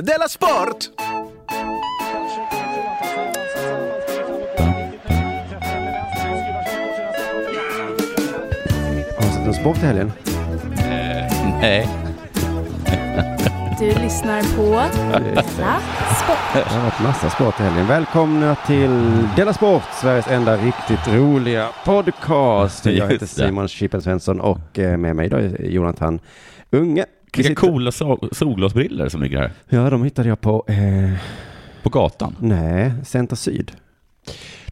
Della Sport! Har du sett en sport i helgen? Nej. Du lyssnar på Della Sport. Det har varit massa sport i helgen. Välkomna till Della Sport, Sveriges enda riktigt roliga podcast. Jag heter Just det. Simon Chippen Svensson och eh, med mig idag är Jonathan Unge. Vi Vilka sitter- coola sol- solglasbriller som ligger här. Ja, de hittade jag på, eh, På gatan. nej, Center Syd.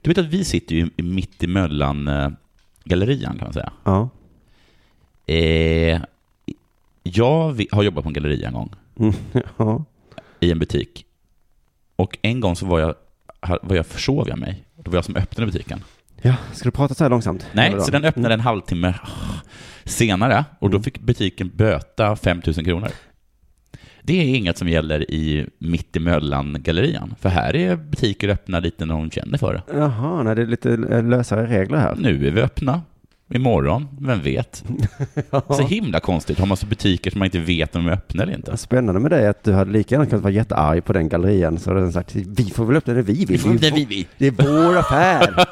Du vet att vi sitter ju i- mitt emellan eh, gallerian kan man säga. Ja. Eh, jag vi- har jobbat på en galleria en gång Mm, ja. i en butik. Och en gång så var jag, ha- var jag försov jag mig. Det var jag som öppnade butiken. ja, ska du prata så här långsamt? Eller Nej, då? Mm. så den öppnade en halvtimme ah, senare och då fick butiken böta 5 000 kronor. Det är inget som gäller i mittemellan-gallerian, för här är butiker öppna lite när de känner för det. Jaha, nej, det är lite eh, lösare regler här. Nu är vi öppna. Imorgon, vem vet? Så himla konstigt. Har man så butiker som man inte vet om de är öppna eller inte? Spännande med dig är att du hade lika gärna kunnat vara jättearg på den gallerian så hade den sagt vi får väl öppna det vi vill. Vi får Det är öppna det vå- vi vill." Det är vår affär.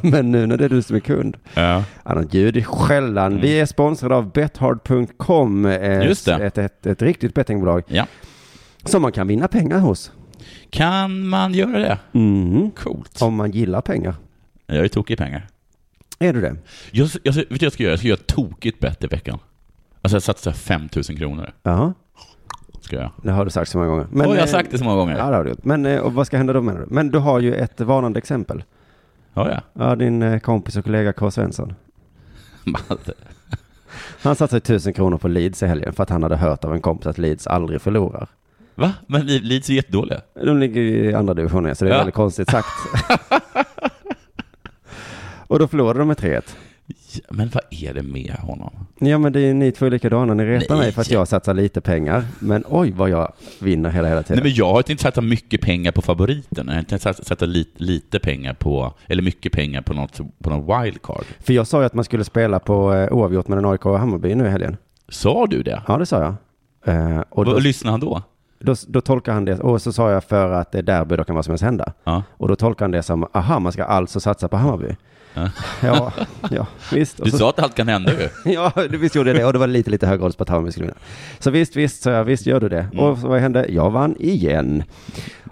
Men nu när det är du som är kund. Ja. Annat ljud i skällan. Vi är sponsrade av bethard.com. eh, Mm. Just det. Ett, ett, ett riktigt bettingbolag ja. som man kan vinna pengar hos. Kan man göra det? Mm. Coolt. Om man gillar pengar. Jag är tokig i pengar. Är du det? Jag, jag, vet du vad jag ska göra? Jag ska göra ett tokigt bett i veckan. Alltså jag satsar 5 000 kronor. Ja, Ska jag. det har du sagt så många gånger. Men, Men, jag har eh, sagt det så många gånger. Ja, det har du gjort. Men eh, och vad ska hända då menar du? Men du har ju ett varnande exempel. Har jag? Ja, din eh, kompis och kollega K. Svensson. Malte. Han satsade 1000 kronor på Leeds i helgen för att han hade hört av en kompis att Leeds aldrig förlorar. Va? Men vi- Leeds är jättedåliga. De ligger ju i andra divisionen, så det är Ja. väldigt konstigt sagt. och då förlorade de med 3-1. Ja, Men vad är det med honom? Ja, men det är ni två likadana. Ni retar Nej. mig för att jag satsar lite pengar. Men oj, vad jag vinner hela, hela tiden. Nej, men jag har inte satsat mycket pengar på favoriten. Jag har inte satsat satsat lite, lite pengar på, eller mycket pengar på något, på någon wildcard. För jag sa ju att man skulle spela på eh, oavgjort mellan AIK och Hammarby nu i helgen. Sa du det? Ja, det sa jag. Eh, och då, Vad lyssnade han då? då, då tolkar han det, och så sa jag för att det är derby, då kan vad som helst hända. Ja. Och då tolkar han det som, aha, man ska alltså satsa på Hammarby. Ja, ja, visst. Och Du så- sa att allt kan hända ju. Ja, det- visst gjorde jag det. Och det var lite, lite högre odds på att Hammarby skulle vinna. Så visst, visst, så jag, visst gör du Mm. det. Och så vad hände? Jag vann igen.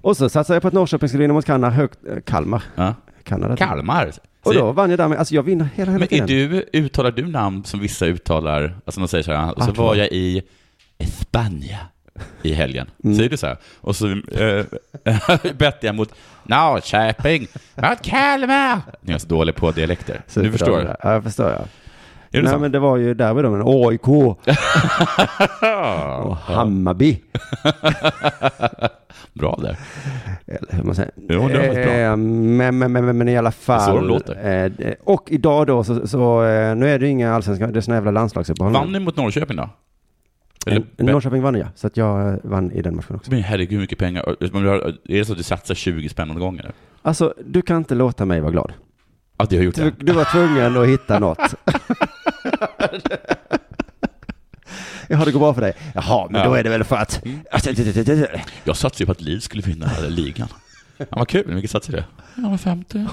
Och så satsade jag på att Norrköping skulle vinna mot Kalmar. Högt, eh, Kalmar. Ja. Kanada. Kalmar. Och Så- då vann jag därmed. Alltså jag vinner hela, hela men är tiden. du, uttalar du namn som vissa uttalar, alltså de säger så här, och så Arturo. var jag i Spanien i helgen. Mm. Säger du så här? Och så äh, bett jag mot Norrköping, mot Kalmar. Ni är så dåliga på dialekter. Så du förstår. det. Ja, jag förstår. Ja. Är det Nej, sant? men det var ju derby då, men AIK och Hammarby. Bra där. Eller hur man säger. Jo, det var faktiskt bra. Eh, men, men, men, men, men i alla fall. Det är så de låter. eh, och idag då, så, så eh, nu är det ju inga allsvenska, det är såna jävla landslagsuppehåll. Vann ni Eh, mot Norrköping då? Eller, En- Norrköping vann ja, så att jag eh, vann i den matchen också. men herregud hur mycket pengar. Men du har- Är det så att du satsar 20 spänn åt gången? nu? Alltså, du kan inte låta mig vara glad. Ja, det har jag gjort. Du, det. du var tvungen att hitta något. Jaha, det går bra för dig. Jaha, men Ja. då är det väl för att... Jag satsade ju på att Leeds skulle vinna ligan. Ja, vad kul. Hur mycket satsade du? Ja, 50.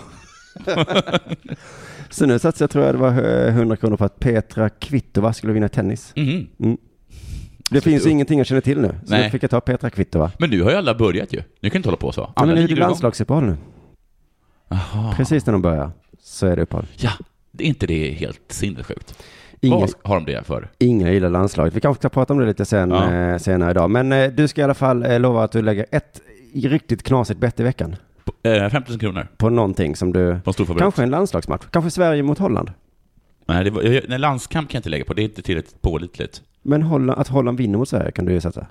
Så nu satsade jag, tror jag det var eh, 100 kronor på att Petra Kvitova skulle vinna tennis. Mhm. Det finns ju ingenting jag känner till nu, så Nej. nu fick jag ta Petra Kvitova. Men nu har ju alla börjat ju. Nu kan inte hålla på så. Ja, men nu är det ligor igång. landslagsuppehåll nu. Jaha. Precis när de börjar så är det uppehåll. Ja, det är inte det helt sinnessjukt? Ingen, Vad har de det för? Ingen gillar landslaget. Vi kanske ska prata om det lite sen, Ja. eh, senare idag. Men eh, du ska i alla fall eh, lova att du lägger ett riktigt knasigt bett i veckan Eh, 5 000 kronor på någonting som du... på en storfavorit. Kanske en landslagsmatch. Kanske Sverige mot Holland. Nej, det var, jag, nej, landskamp kan jag inte lägga på. Det är inte tillräckligt pålitligt. Men Holland, att Holland vinner mot Sverige kan du ju satsa. Tror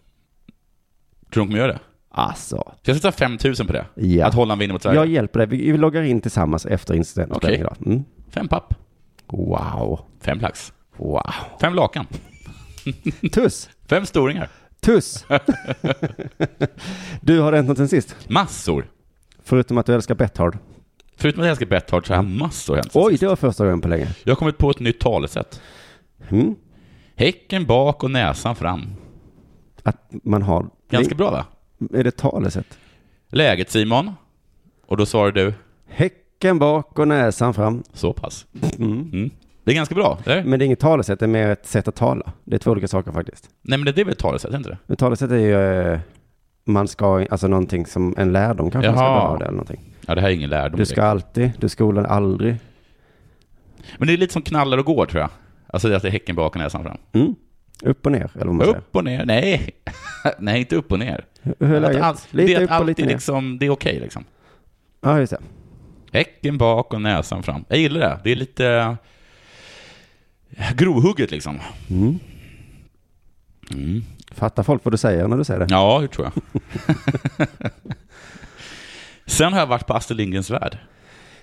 du de kommer göra det? Alltså. Ska jag satsa 5 000 på det? Ja. Att Holland vinner mot Sverige? Jag hjälper dig. Vi, vi loggar in tillsammans efter incidenten Okej. idag. Mm. Fem papp. Wow. Fem lax. Wow. Fem lakan. Tuss. Fem storingar. Tuss. du, har det hänt något sen sist? Massor. Förutom att du älskar Betthard. Förutom att jag älskar Betthard så har massor hänt. Oj, det var första gången på länge. Jag har kommit på ett nytt talesätt. Mm. Häcken bak och näsan fram. Att man har Ganska bra va? Är det talesätt? Läget Simon? Och då svarar du? Häcken bak och näsan fram. Så pass. Mm. Mm. Det är ganska bra, eller? Men det är inget talesätt, det är mer ett sätt att tala. Det är två olika saker faktiskt. Nej men det är väl ett talesätt, inte det? Men talesätt är ju, eh, man ska, alltså någonting som en lärdom kanske man ska Jaha. dra av det eller någonting. Ja, det här är ingen lärdom. Du ska alltid, du skolan aldrig. Men det är lite som knallar och går tror jag. Alltså det är att det är häcken bak och näsan fram. Mm. Upp och ner, eller vad man säger. Upp och ner, nej. nej, inte upp och ner. Hur är Att läget? allt- det lite är upp att och alltid lite ner. liksom, det är okej liksom. Ja, just det. Häcken bak och näsan fram. Jag gillar det. Det är lite grovhugget liksom. Mm. Mm. Fattar folk vad du säger när du säger det? Ja, det tror jag. Sen har jag varit på Astrid Lindgrens Värld.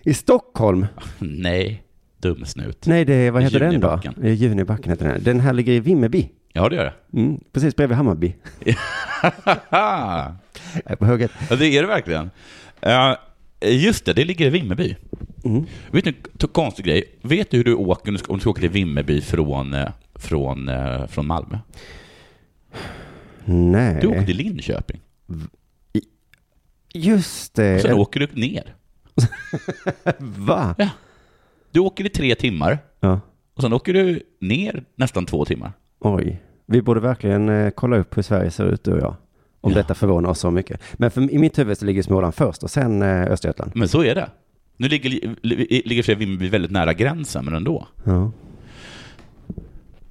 I Stockholm? Nej, dumsnut. Nej, det är, vad heter den då? Junibacken. Eh, Junibacken heter den. Den här ligger i Vimmerby. Ja, det gör det. Mm. Precis bredvid Hammarby. Haha! Jag är på hugget. Ja, det är det verkligen. Eh, just det, det ligger i Vimmerby. Mm. Vet du, en konstig grej. Vet du hur du åker om du ska, om du ska åka till Vimmerby från, eh, från, eh, från Malmö? Nej. Du åker till Linköping. Just det. Och sen åker du ner. Va? Du åker i tre timmar Ja. och sen åker du ner nästan två timmar. Oj. Vi borde verkligen eh, kolla upp hur Sverige ser ut, du och jag. Om Ja. detta förvånar oss så mycket. Men för, i mitt huvud så ligger Småland först och sen eh, Östergötland. Men så är det. Nu ligger, li- ligger för sig Vimmerby väldigt nära gränsen, men ändå. Ja.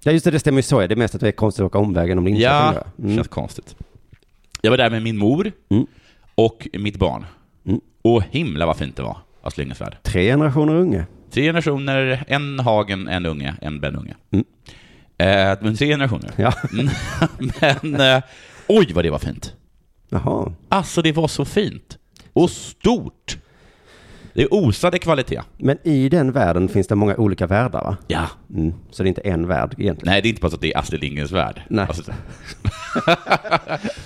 Ja, just det, det stämmer ju så. ja. Det är mest att det är konstigt att åka omvägen om Linköping. Ja, då. Mm. känns konstigt. Jag var där med min mor Mm. och mitt barn. Mm. Och himla vad fint det var, Astrid Lindgrens Värld. Tre generationer unge. Tre generationer, en Hagen, en Unge, en Benunge. Mm. Eh, men tre generationer. Ja. Mm. men eh, oj vad det var fint. Jaha. Alltså det var så fint. Och stort. Det osade kvalitet. Men i den världen finns det många olika världar, va? Ja. Mm. Så det är inte en värld egentligen. Nej, det är inte bara så att det är Astrid Lindgrens Värld. Typ. Nej. Alltså,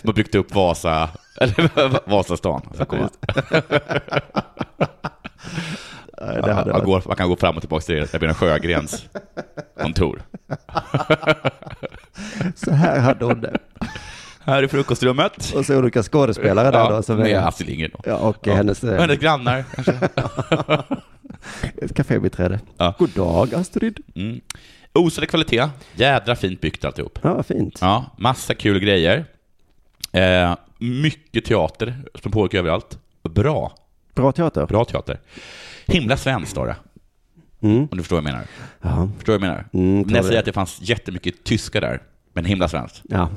de har byggt upp Vasa, eller Vasastan. Alltså, kom. det man, hade man, går, man kan gå fram och tillbaka till Rebecka Sjögrens kontor. Så här hade hon det. Här är frukostrummet. Och så olika skådespelare där då. Som med är, Astrid Lindgren. då. ja, och hennes Och eh, hennes grannar. kanske. ett kafébiträde. Ja. God dag, Astrid. Mm. Osade kvalitet. Jädra fint byggt alltihop. Ja, vad fint. Ja, massa kul grejer. Eh, mycket teater som pågick överallt. Bra. Bra teater. Bra teater. Himla svenskt var det. Mm. Om du förstår vad jag menar. Ja. Förstår vad jag menar? Mm, När jag tror säger det. att det fanns jättemycket tyskar där, men himla svenskt. ja.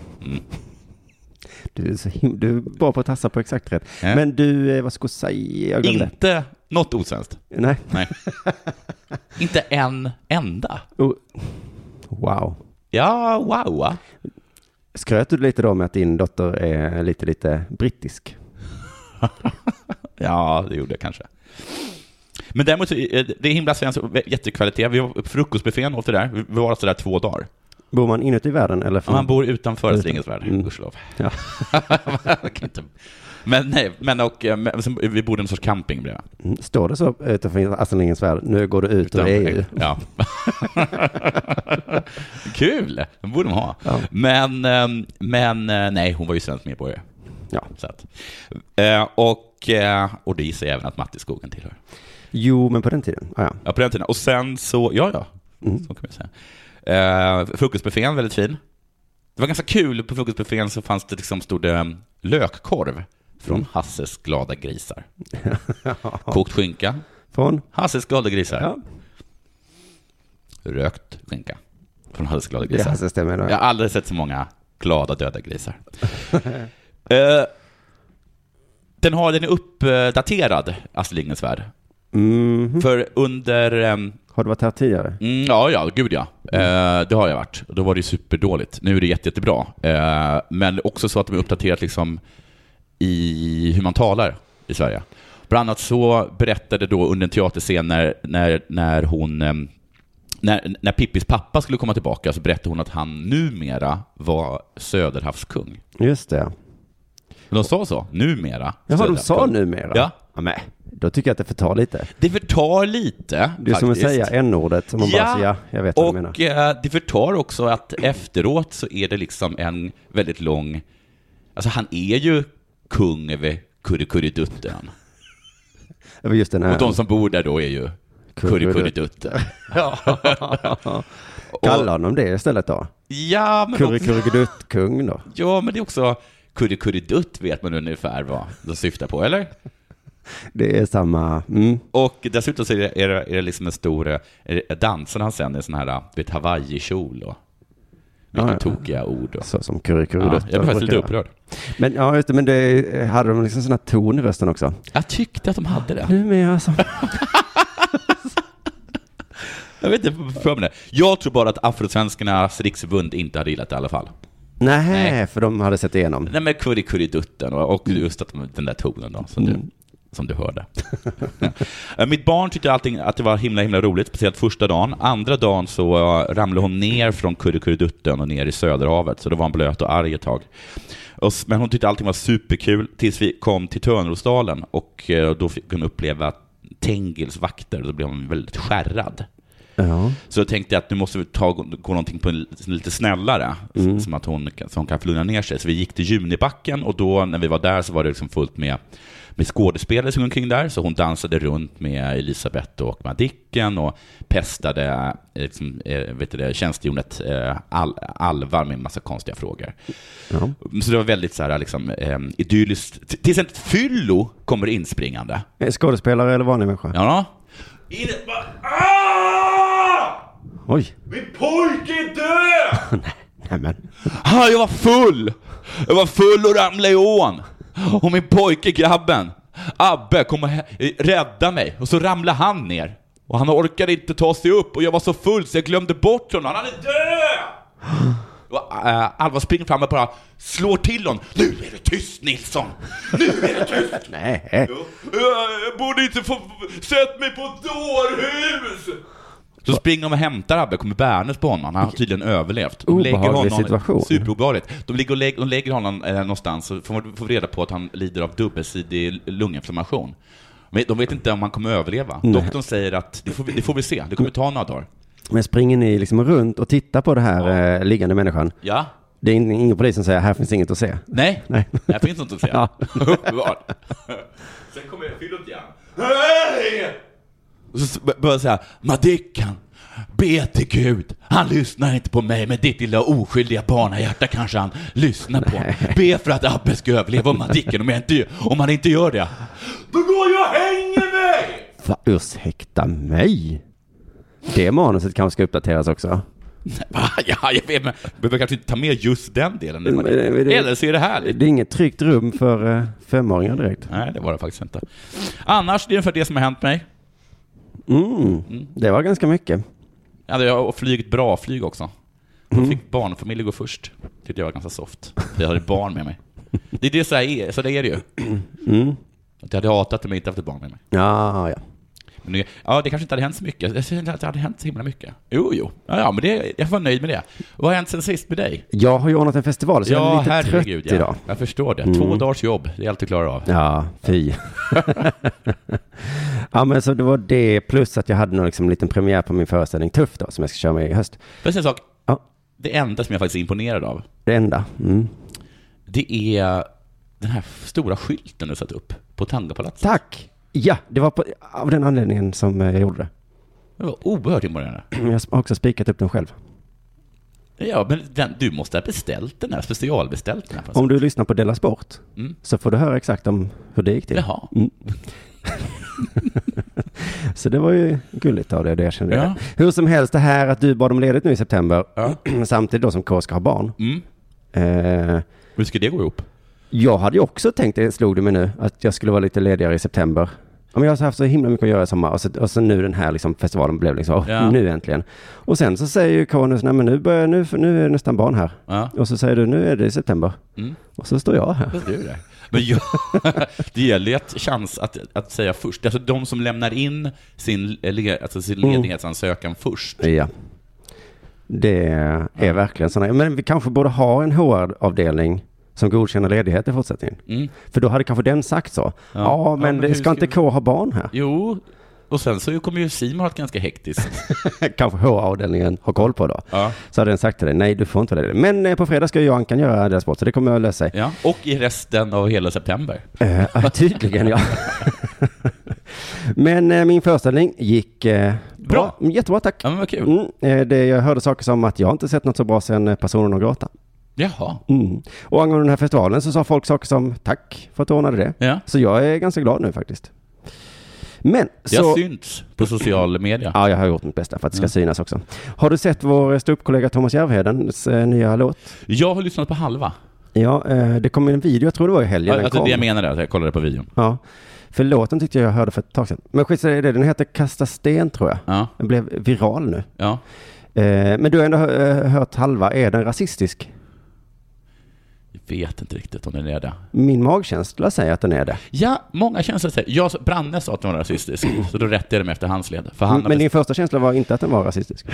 Du, är så him- du är bra på att tassa på exakt rätt. Ja. Men du, eh, vad ska jag säga? Jag glömde. Inte något osvenskt. Nej. Nej. Inte en enda. Oh. Wow. Ja, wow. va? Skröt du lite då med att din dotter är lite, lite brittisk? Ja, det gjorde jag kanske. Men däremot, så är det det är himla svenskt och jättekvalitet. Vi var på frukostbuffén åt det där. Vi var alltså där två dagar. Bor man inuti världen eller? Ja, Får man bor utanför Astrid Lindgrens värld, Mm. gudskelov. Ja. Man kan inte- men nej, men och, eh, men, sen- vi bodde i en sorts camping bredvid. Mm, Står det så utanför Astrid Lindgrens värld? Nu går du ut ur E EU. Ja. Kul! Det borde de ha. Men, eh, men eh, nej, hon var ju svensk medborgare. Ja. Så att, eh, och, eh, och det gissar jag även att Matti Skogen tillhör. Jo, men på den tiden. Ah, ja. Ja, på den tiden. Och sen så, ja, ja. Mm. Så kan man säga. Eh, frukostbuffén, väldigt fin. Det var ganska kul, på frukostbuffén så fanns det liksom, stod det um, lökkorv från Mm. Hasses glada grisar. Kokt skinka, Från? Hasses glada grisar. Ja, Rökt skinka från Hasses glada det grisar. här stämmer. Jag har aldrig sett så många glada döda grisar. Eh, den, har, den är uppdaterad, Astrid Lindgrens Värld. Mhm. För under ehm, Har du varit här tidigare? Mm, ja, ja, gud ja. Eh, det har jag varit. Och Då var det ju superdåligt. Nu är det jätte, jättebra. Eh, men också så att de är uppdaterat liksom i hur man talar i Sverige. Bland annat så berättade då under en teaterscen när, när, när hon ehm, när, när Pippis pappa skulle komma tillbaka så berättade hon att han numera var Söderhavskung. Just det. De sa så, numera. Jaha, de sa Söderhavskung. numera? Ja. men då tycker jag att det förtar lite. Det förtar lite Det är som att faktiskt. säga n-ordet, som man bara säger, ja, jag vet vad du menar. och eh, det förtar också att efteråt så är det liksom en väldigt lång Alltså han är ju kung över Kurrekurredutten. Över just den här. Och de som bor där då är ju Kurrekurredutten. Ja. Kalla honom det istället då. Ja, men också, Kurrekurredutt-kung då. ja, men det är också Kurrekurredutt vet man ungefär vad de syftar på, eller? Det är samma. Mm. Och dessutom så är det, är det, är det liksom en stor, eh, är det- dansar han sen i sån här, du vet, hawaii-kjol och mycket Ja, ja. tokiga ord. Och. Så Alltså, som Ja, Kurrekurredutt. jag blev faktiskt lite upprörd. Men ja, just det, men det hade de liksom sån här ton i rösten också. Jag tyckte att de hade det. Nu med alltså. Jag vet inte varför jag menar det. Jag tror bara att Afrosvenskarnas riksförbund inte hade gillat det i alla fall. Nej, för de hade sett igenom. Nej men kurrikuriddutten och, och just att de, den där tonen då, som, du, som du hörde. Eh, Mitt barn tyckte allting, att det var himla himla roligt, speciellt första dagen. Andra dagen så eh, ramlade hon ner från kurrikuriddutten och ner i Söderhavet, så då var hon blöt och arg ett tag. Och, s- men hon tyckte allting var superkul tills vi kom till Törnrosdalen och eh, då fick hon uppleva Tengils vakter och då blev hon väldigt skärrad. Ja. Så jag tänkte att nu måste vi ta, gå någonting på en, lite snällare, som att hon, kan- så hon kan lugna ner sig. Så vi gick till Junibacken och då när vi var där så var det liksom fullt med, med skådespelare som gick omkring där. Så hon dansade runt med Elisabeth och Madicken och pestade eh, liksom, eh, vet du det, tjänstehjonet eh, Al- Alvar med en massa konstiga frågor. Ja. Så det var väldigt så här, liksom, eh, idylliskt. T- Tills ett fyllo kommer inspringande. Eh, Skådespelare eller vanlig människa? Ja. In, bara, "Ah! Oj. Min pojke är död! Nämen. Ah, jag var full! Jag var full och ramlade i ån. Och min pojke, grabben, Abbe, kom och hä- rädda mig. Och så ramlade han ner. Och han orkade inte ta sig upp och jag var så full så jag glömde bort honom. Han är död! Och, äh, Alva springer fram och bara slår till honom. Nu är det tyst Nilsson! Nu är det tyst! Nej. Jag, jag borde inte få sett mig på dårhus! Så springer de och hämtar Abbe, kommer bärandes på honom. Han har tydligen överlevt. De lägger Obehaglig honom- situation. Superobehagligt. De, ligger och lägger, de lägger honom eh, någonstans och får, får reda på att han lider av dubbelsidig lunginflammation. Men de vet inte om han kommer överleva. Doktorn säger att det får, vi, det får vi se, det kommer ta några dagar. Men springer ni liksom runt och tittar på den här eh, liggande människan? Ja? Det är in- ingen polis som säger här finns inget att se. Nej? Nej. Här finns något att se. Ja. Uppenbart. Sen kommer Philip igen. Hej! Och så b- börjar jag säga, Madicken, be till Gud. Han lyssnar inte på mig, men ditt lilla oskyldiga barnahjärta kanske han lyssnar på. Be för att Abbe ska överleva och Madicken, om, jag inte, om han inte gör det. Då går jag och hänger mig! Va, ursäkta mig? Det manuset kanske ska uppdateras också. Va? Ja, jag vet, men behöver kanske inte ta med just den delen. Men är det- Eller så är det här Det är inget tryggt rum för eh, femåringar direkt. Nej, det var det faktiskt inte. Annars, det är ungefär det som har hänt mig. Mm. Det var ganska mycket. Ja, jag har flugit bra flyg också. Då Mm. fick barnfamiljer gå först. Tyckte jag var ganska soft. För jag hade barn med mig. Det är det så, här är, så det är det ju. Mm. Att jag hade hatat om jag inte haft ett barn med mig. Ja, ja. Men det, ja, det kanske inte hade hänt så mycket. Jag ser inte att det hade hänt så himla mycket. Jo, jo. Ja, ja men det, jag var nöjd med det. Vad har hänt sen sist med dig? Jag har ju ordnat en festival så jag är lite trött ja. idag. Mm. Jag förstår det. Två dagars jobb, det är allt du klarar av. Ja, fy. ja, men så det var det plus att jag hade någon liksom liten premiär på min föreställning Tuff då, som jag ska köra med i höst. Får jag säga en sak? Ja, Det enda som jag faktiskt är imponerad av, det enda. Mm. det är den här stora skylten du satt upp på Tangapalatset. Tack! Ja, det var på, av den anledningen som eh, jag gjorde Det var oerhört imponerande. det. Jag har också spikat upp den själv. Ja, men den, du måste ha beställt den här, specialbeställt den här. Fast. Om du lyssnar på Della Sport Mm. så får du höra exakt om hur det Mm. gick till. Jaha. Så det var ju gulligt av dig, det erkände Ja. jag. Hur som helst, det här att du bad om ledigt nu i september, samtidigt då som K ska ha barn. Mm. Eh, Hur ska det gå ihop? Jag hade ju också tänkt, det slog det mig nu, att jag skulle vara lite ledigare i september. Ja, men jag har haft så himla mycket att göra i sommar och så, och så nu den här liksom festivalen blev liksom, åh, Ja. nu äntligen. Och sen så säger ju Konus, nej men nu, börjar, nu, nu är det nästan barn här. Ja. Och så säger du, nu är det i september. Mm. Och så står jag här. Fast det är ju det. Men jag, det gäller ju att chans att, att säga först. Alltså de som lämnar in sin, le- alltså sin Mm. ledighetsansökan först. Ja. Det är verkligen sådana, men vi kanske borde ha en HR-avdelning som godkänner ledighet i fortsättningen. Mm. För då hade kanske den sagt så. Ja, men, Ja, men det hur ska inte ska K ha barn här? Jo, och sen så kommer ju Simon ha ett ganska hektiskt. Kanske HR-avdelningen har koll på då. Ja. Så hade den sagt till dig, nej du får inte vara ledig. Men eh, på fredag ska jag och Ankan göra deras sport, så det kommer att lösa sig. Ja. Och i resten av hela september. Eh, ja, tydligen ja. Men eh, min föreställning gick eh, bra. Jättebra tack. Ja, men vad kul. Mm, eh, det, jag hörde saker som att jag inte sett något så bra sedan eh, personen och gråta. Jaha. Mm. Och angående den här festivalen så sa folk saker som tack för att du ordnade det. Ja. Så jag är ganska glad nu faktiskt. Men Det har så... synts på sociala medier. Ja, jag har gjort mitt bästa för att det ska Mm. synas också. Har du sett vår eh, ståuppkollega Thomas Järvhedens eh, nya låt? Jag har lyssnat på halva. Ja, eh, det kom en video, jag tror det var i helgen den Alltså kom. det jag menar är att jag kollade på videon. Ja, för låten tyckte jag jag hörde för ett tag sedan. Men skit i det, den heter Kasta sten tror jag. Ja, Den blev viral nu. ja. Eh, men du har ändå hö- eh, hört halva, är den rasistisk? Jag vet inte riktigt om den är det. Min magkänsla säger att den är det. Ja, många känslor säger... Jag, Branne sa att den var rasistisk, så då rättade jag det med efter hans led. För han har Men din första känsla var inte att den var rasistisk?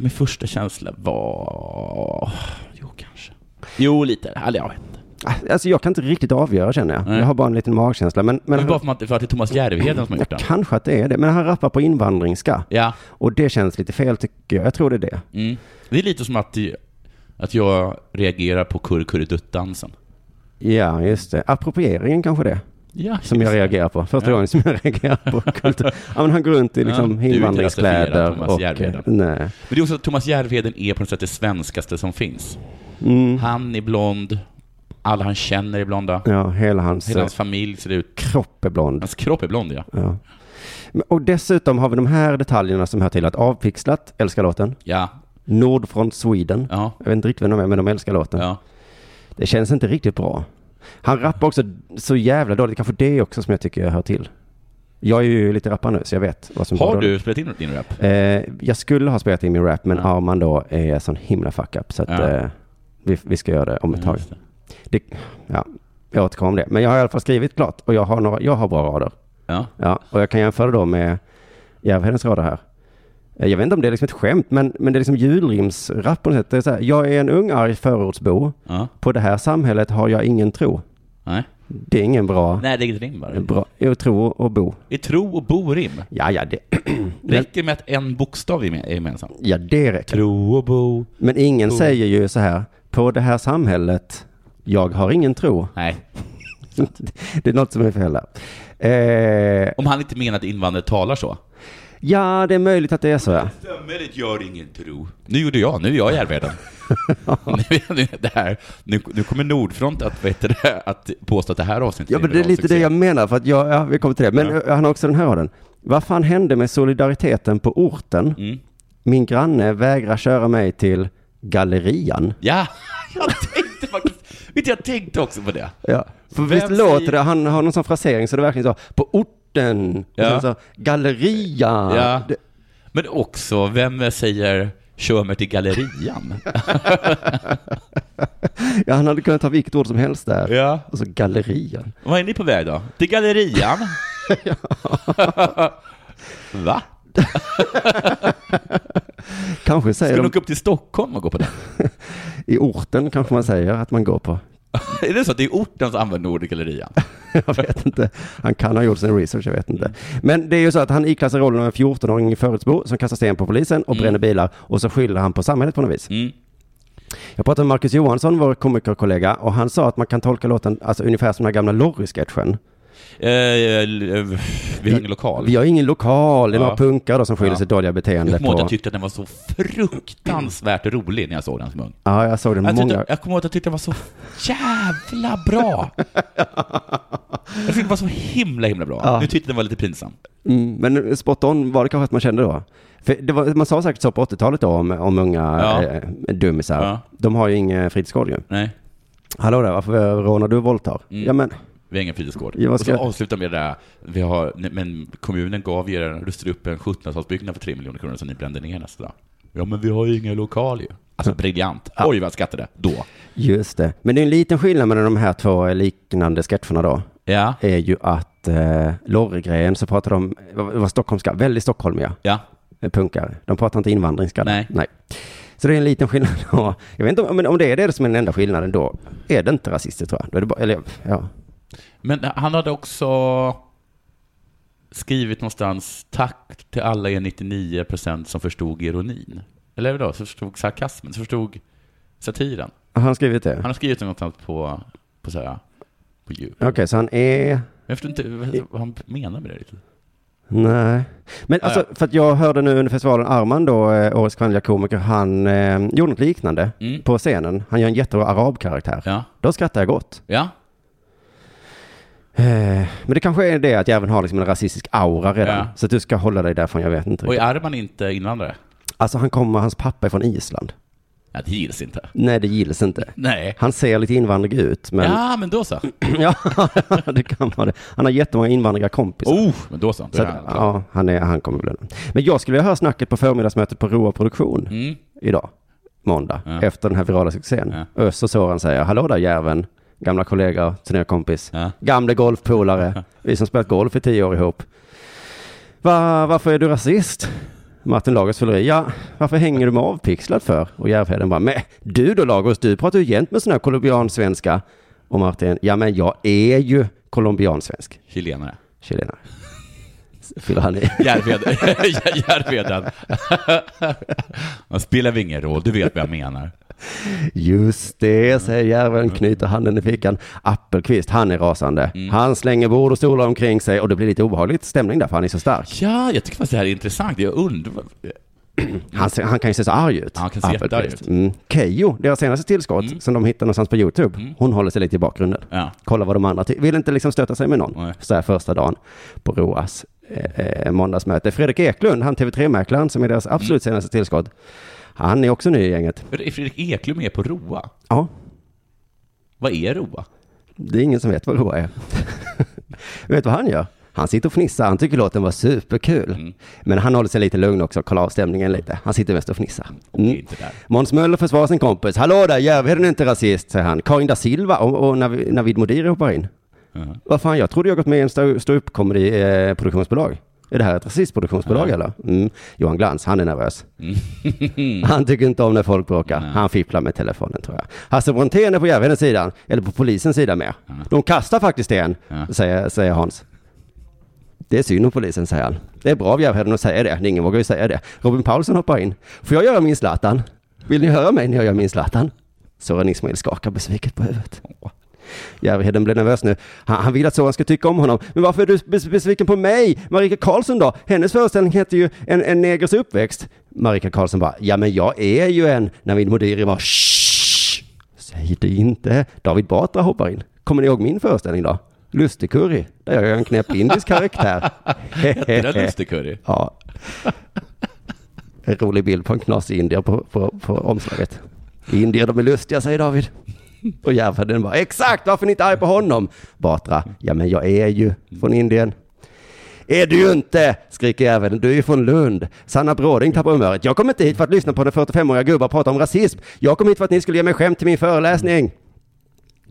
Min första känsla var... Jo, kanske. Jo, lite. Eller jag vet inte. Alltså jag kan inte riktigt avgöra känner jag. Nej. Jag har bara en liten magkänsla. Men, men, Men bara för att, för att det är Thomas Järvheden som har gjort den. kanske att det är det. Men han rappar på invandringska. Ja. Och det känns lite fel tycker jag. Jag tror det är det. Mm. Det är lite som att, att jag reagerar på kurrkurredutt-dansen. Ja, just det. Approprieringen kanske det. Ja, Som jag reagerar på. Första gången som jag reagerar på kultur. Ja, men han går runt i liksom Ja, du är inte rasifierad, invandringskläder. Thomas Och, Järvheden. nej. Men det är också att Thomas Järvheden är på något sätt det svenskaste som finns. Mm. Han är blond, alla han känner är blonda, Ja, hela hans hela eh, hans familj ser ut... kropp är blond. Hans kropp är blond, ja. Ja. Men- Och dessutom har vi de här detaljerna som hör till att Avpixlat älskar låten. Ja, Nordfront Sweden. ja, Jag vet inte riktigt vem de är, men de älskar låten. ja. Det känns inte riktigt bra. Han rappar också så jävla dåligt. Kanske det också som jag tycker jag hör till. Jag är ju lite rappare nu, så jag vet vad som är Har bra du spelat in din rap? Eh, jag skulle ha spelat in min rap, men Ja. Arman då är sån himla fuck-up. Så att Ja. eh, vi, vi ska göra det om ett Ja, tag. just det. Det, ja, jag återkommer om det. Men jag har i alla fall skrivit klart och jag har, några, jag har bra rader. Ja. Ja, och jag kan jämföra då med Järvhedens rader här. Eh, Jag vet inte om det är liksom ett skämt, men, men det är liksom julrimsrap på något sätt. Det är så här, jag är en ung arg förortsbo. ja. På det här samhället har jag ingen tro. Nej. Det är ingen bra, Nej, det är rim bara. bra jo, tro och bo. I tro och bo-rim. Ja, ja, det, Räcker med att en bokstav är med- är gemensam. ja, det räcker. Tro och bo. Men ingen Mm. säger ju så här, på det här samhället, jag har ingen tro. Nej, Det är något som är fel där. Eh, om han inte menar att invandrare talar så. ja, det är möjligt att det är så. Ja. Samhället gör ingen tro. Nu gjorde jag, nu är jag i Järvheden. nu, nu, det här, nu, nu kommer Nordfront att, vet det, att påstå att det här avsnittet ja, men det är någon lite succé. det jag menar, för att jag, ja, vi kommer till det. Men Ja. eh, han har också den här raden. Vad fan hände med solidariteten på orten? Mm. Min granne vägrar köra mig till gallerian. Ja, jag tänkte faktiskt... Vet du, jag tänkte också på det. Ja. För Vem visst säger- låter det, han har någon sån frasering så det verkligen så, på orten, Ja. och sen så, gallerian. Ja. Det, Men också, vem säger kör mig till gallerian? ja, han hade kunnat ta vilket ord som helst där. ja. Och så gallerian. Vad är ni på väg då? Till gallerian? Va? Kanske säger Ska de du åka upp till Stockholm och gå på den? i orten kanske man säger att man går på. är det så att det är orten som använder ordet gallerian? Jag vet inte. Han kan ha gjort sin research, jag vet Mm. inte. Men det är ju så att han iklassar rollen av en 14-åring i Förortsbo som kastar sten på polisen och Mm. bränner bilar och så skyller han på samhället på något vis. Mm. Jag pratade med Marcus Johansson, vår komikerkollega, och han sa att man kan tolka låten alltså, ungefär som den här gamla Lorry-sketchen. Eh, eh, vi har ingen lokal. Vi har ingen lokal, det är Ja. några punkare då som skyller Ja. sitt dåliga beteende Jag kommer ihåg att på. jag tyckte att den var så fruktansvärt rolig när jag såg den som ung. Ja, jag såg det Jag, många. tyckte, jag kommer ihåg att jag tyckte den var så jävla bra. Jag tyckte den var så himla, himla bra. Ja. Nu tyckte jag den var lite pinsam. Mm, men spot on var det kanske att man kände då. För det var, man sa säkert så på 80-talet då om, om unga Ja. eh, dummisar. Ja. De har ju ingen fritidsgård ju. Nej, Hallå där, varför rånar du och våldtar? Mm. Ja men, vi har ingen fritidsgård. Ja, vad ska- Och så avslutar med det där, vi har, nej, men kommunen gav er, rustade upp en 1700-talsbyggnad för 3 miljoner kronor som ni brände ner nästa dag. Ja, men vi har ju ingen lokal ju. Alltså briljant. Oj, vad jag skrattade då. just det. Men det är en liten skillnad mellan de här två eh, liknande sketcherna då. Ja, Är ju att eh, Lorry-grejen så pratar de, vad var stockholmska, väldigt stockholmiga ja. eh, punkare. De pratar inte invandringsska. Nej. Nej. Så det är en liten skillnad då. Jag vet inte om, men om det är det som är den enda skillnaden då är det eh, inte rasistiskt tror jag. Då är det bara, eller ja. Men han hade också... skrivit någonstans tack till alla er 99% som förstod ironin. Eller vadå, som förstod sarkasmen, som förstod satiren. Har han skrivit det? Han har skrivit någonstans på, på så här, på djur. Okej, så han är... Jag förstår inte vad- vad han menar med det riktigt. Nej. Men Ah, alltså, för att jag hörde nu under festivalen Arman då, eh, årets kvinnliga komiker, han eh, gjorde något liknande Mm. på scenen. Han gör en jättebra arabkaraktär. Ja. Då skrattar jag gott. Ja. Eh, men det kanske är det att jäveln har liksom en rasistisk aura redan. Ja. Så att du ska hålla dig därifrån, jag vet inte Och riktigt. är Arman inte invandrare? Alltså han kommer, hans pappa är från Island. Ja, det gills inte. Nej, det gills inte. Nej. Han ser lite invandrig ut, men Ja, men då så. ja, det kan vara det. Han har jättemånga invandriga kompisar. Oh, men då så. Då Så är att, han klar. ja, han, är, han kommer bli Men jag skulle vilja höra snacket på förmiddagsmötet på Roa Produktion Mm. idag, måndag, Ja. efter den här virala succén. Ja. Öss och Soran säger, hallå där järven, gamla kollega, turnékompis, Ja. gamle golfpolare, vi som spelat golf i tio år ihop. Va, varför är du rasist? Martin Lagos fyller i, ja, varför hänger du med avpixlad för? Och Järvheden bara, men du då Lagos, du pratar ju jämt med sån här colombiansvenska. Och Martin, ja men jag är ju colombiansvensk, Chilenare. chilenare. Fyller han i. Järvheden. Järvheden. Man spelar väl ingen roll, du vet vad jag menar. Just det, säger järven, knyter handen i fickan. Appelqvist, han är rasande. Mm. Han slänger bord och stolar omkring sig och det blir lite obehagligt stämning där för han är så stark. Ja, jag tycker faktiskt det här är intressant. Jag undrar... Han, ser, han kan ju se så arg ut. Ja, han kan se jättearg Mm. Appelqvist. Mm. Keyyo, deras senaste tillskott som de hittar någonstans på YouTube, hon håller sig lite i bakgrunden. Ja. Kolla vad de andra ty- Vill inte liksom stöta sig med någon Nej. så här första dagen på Roas eh, eh, måndagsmöte. Fredrik Eklund, han TV3-mäklaren som är deras absolut Mm. senaste tillskott, han är också ny i gänget. Är Fredrik Eklund med på ROA? Ja, Vad är ROA? Det är ingen som vet vad Roa är. vet du vad han gör? Han sitter och fnissar. Han tycker låten var superkul. Men han håller sig lite lugn också, kollar av stämningen lite. Han sitter mest och fnissar. Mm. Det är inte där. Måns Möller försvarar sin kompis. Hallå där, Järvheden är inte rasist, säger han. Karin da Silva och, och Navi- Navid Modiri hoppar in. Vad fan, jag trodde jag gått med i en stå- ståuppkomedi-produktionsbolag. Är det här ett rasistproduktionsbolag eller? Mm. Johan Glans, han är nervös. Han tycker inte om när folk bråkar. Han fipplar med telefonen tror jag. Hasse Brontén är på Järvhedens sida, eller på polisens sida med. De kastar faktiskt sten, säger, säger Hans. Det är synd om polisen, säger han. Det är bra av Järvheden att säga det. Ingen vågar ju säga det. Robin Paulsen hoppar in. Får jag göra min Zlatan? Vill ni höra mig när jag gör min Zlatan? Soran Ismail skakar besviket på huvudet. Järvheden blir nervös nu. Han, han vill att Soran ska tycka om honom. Men varför är du bes- besviken på mig? Marika Karlsson då? Hennes föreställning heter ju En, en negers uppväxt. Marika Karlsson bara, ja men jag är ju en. Navid Modiri bara, "Shh, Säg det inte. David Batra hoppar in. Kommer ni ihåg min föreställning då? Lustigkurre, där jag gör en knäpp indisk karaktär. Det där är lustig curry. Ja. En rolig bild på en knasig indier på, på, på omslaget. Indier, de är lustiga, säger David. Och Järvheden bara, exakt, varför är ni inte arg på honom? Batra, ja men jag är ju från Indien. Är du ju inte, skriker Järvheden, du är ju från Lund. Sanna Bråding tappar humöret. Jag kom inte hit för att lyssna på den 45-åriga gubbar prata om rasism. Jag kom hit för att ni skulle ge mig skämt till min föreläsning.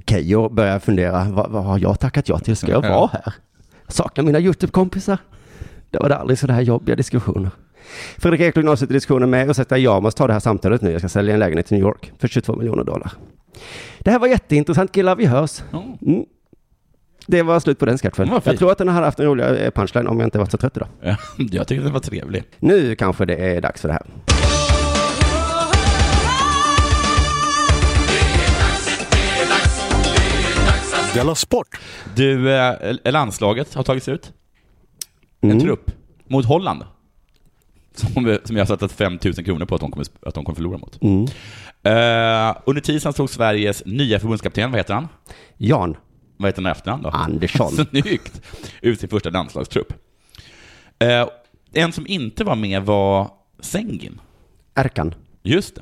Keyyo börjar fundera, vad, vad har jag tackat ja till? Ska jag vara här? Jag saknar mina YouTube-kompisar. Det var det aldrig så här jobbiga diskussioner. Fredrik Eklund avslutar diskussionen med, ursäkta jag måste ta det här samtalet nu, jag ska sälja en lägenhet i New York för 22 miljoner dollar. Det här var jätteintressant killar, vi hörs. Ja. Mm. Det var slut på den sketchen. Den var fin. Jag tror att den hade haft en roligare eh, punchline om jag inte varit så trött idag. Ja, Jag tyckte det var trevligt. Nu kanske det är dags för det här. Della Sport! Du, eh, landslaget har tagits ut. Mm. En trupp mot Holland. Som, som jag har satt 5 000 kronor på att de kommer, att de kommer förlora mot. Mm. Eh, under tisdagen slog Sveriges nya förbundskapten, vad heter han? Jan Vad heter han i efternamn då? Andersson. Snyggt! Ut sin första landslagstrupp. Eh, en som inte var med var Sengin. Erkan. Just det.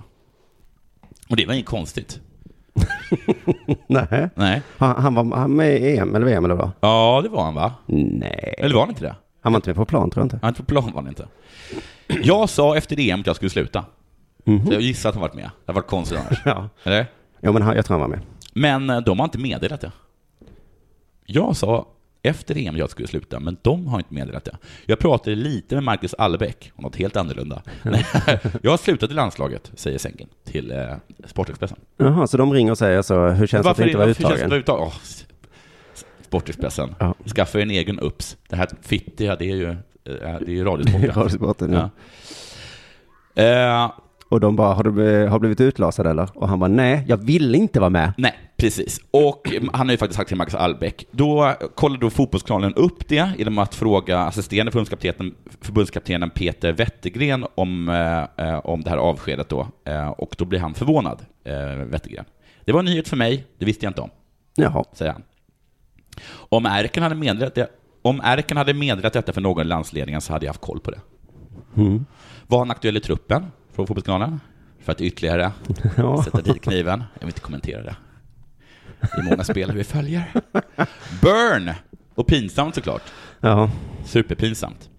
Och det var inget konstigt. Nej. Nej. Han, han var han med i EM eller VM eller vad? Ja, det var han va? Nej. Eller var han inte det? Han var inte med på plan tror jag inte. Han på plan var han inte. Jag sa efter EM att jag skulle sluta. Mhm. Så jag gissar att han varit med. Det har varit konstigt annars. Ja. Eller? Jo men han, jag tror han var med. Men eh, de har inte meddelat det. Jag sa efter EM att jag skulle sluta, men de har inte meddelat det. Jag pratade lite med Marcus Allbäck om något helt annorlunda. Nej, jag har slutat i landslaget, säger Sänken till eh, Sportexpressen. Jaha, så de ringer och säger så, hur känns det att inte vara varför känns det uttagen? att vara uttagen? Åh, s- Sportexpressen. Ja. Skaffa er en egen UPS. Det här fittiga, det är ju, eh, det är ju Radiosporten. Radiosporten, ja. Ja. Eh, Och de bara, har du bl- har blivit utlasad eller? Och han bara, nej, jag vill inte vara med. Nej, precis. Och han har ju faktiskt sagt till Max Albeck. Då kollade då fotbollskanalen upp det genom att fråga assisterande förbundskaptenen, förbundskaptenen Peter Wettergren om, eh, eh, om det här avskedet då. Eh, och då blir han förvånad, eh, Wettergren. Det var en nyhet för mig, det visste jag inte om, Jaha. säger han. Om Erken hade meddelat, det, om Erken hade meddelat detta för någon i landsledningen så hade jag haft koll på det. Var han aktuell i truppen från fotbollskanalen? För att ytterligare Ja. sätta dit kniven. Jag vill inte kommentera det. Det är många spelare vi följer. Burn! Och pinsamt såklart. Ja. Superpinsamt.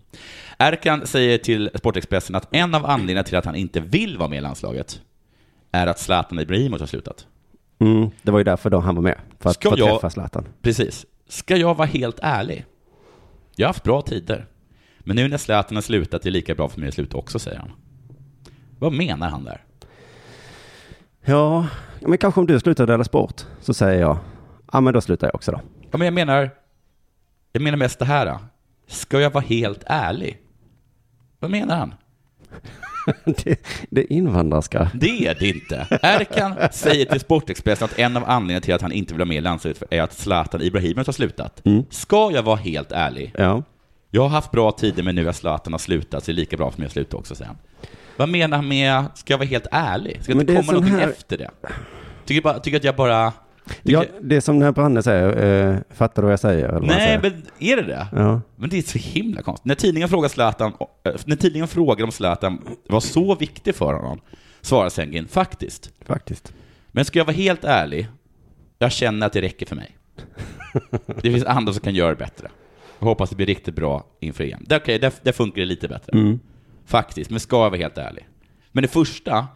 Erkan säger till Sportexpressen att en av anledningarna till att han inte vill vara med i landslaget är att Zlatan Ibrahimovic har slutat. Mm, det var ju därför då han var med. För att Ska få jag- träffa Zlatan. Precis. Ska jag vara helt ärlig? Jag har haft bra tider. Men nu när Zlatan har slutat är det lika bra för mig att sluta också, säger han. Vad menar han där? Ja, men kanske om du slutar dela sport så säger jag, ja men då slutar jag också då. Ja, men jag menar, jag menar mest det här. Då. Ska jag vara helt ärlig? Vad menar han? Det, det är invandrarska. Det är det inte. Erkan säger till Sportexpressen att en av anledningarna till att han inte vill vara med i landslaget är att Zlatan Ibrahimovic har slutat. Mm. Ska jag vara helt ärlig? Ja. Jag har haft bra tider, men nu när Zlatan har slutat så är det lika bra för mig att sluta också sen. Vad menar han med, ska jag vara helt ärlig? Ska det Men inte det är komma sån någonting här- efter det? Tycker, bara, tycker att jag bara... ja det är som den här Branne säger, eh, fattar du vad jag säger? Eller vad han säger? Nej, men är det det? Ja. Men det är så himla konstigt. När tidningen frågar, Zlatan, eh, när tidningen frågar om Zlatan var så viktig för honom, svarar Sengin faktiskt. Faktiskt. Men ska jag vara helt ärlig, jag känner att det räcker för mig. Det finns andra som kan göra det bättre. Jag hoppas det blir riktigt bra inför EM. Där, okay, där, där funkar det lite bättre. Faktiskt, men ska jag vara helt ärlig? Men det första,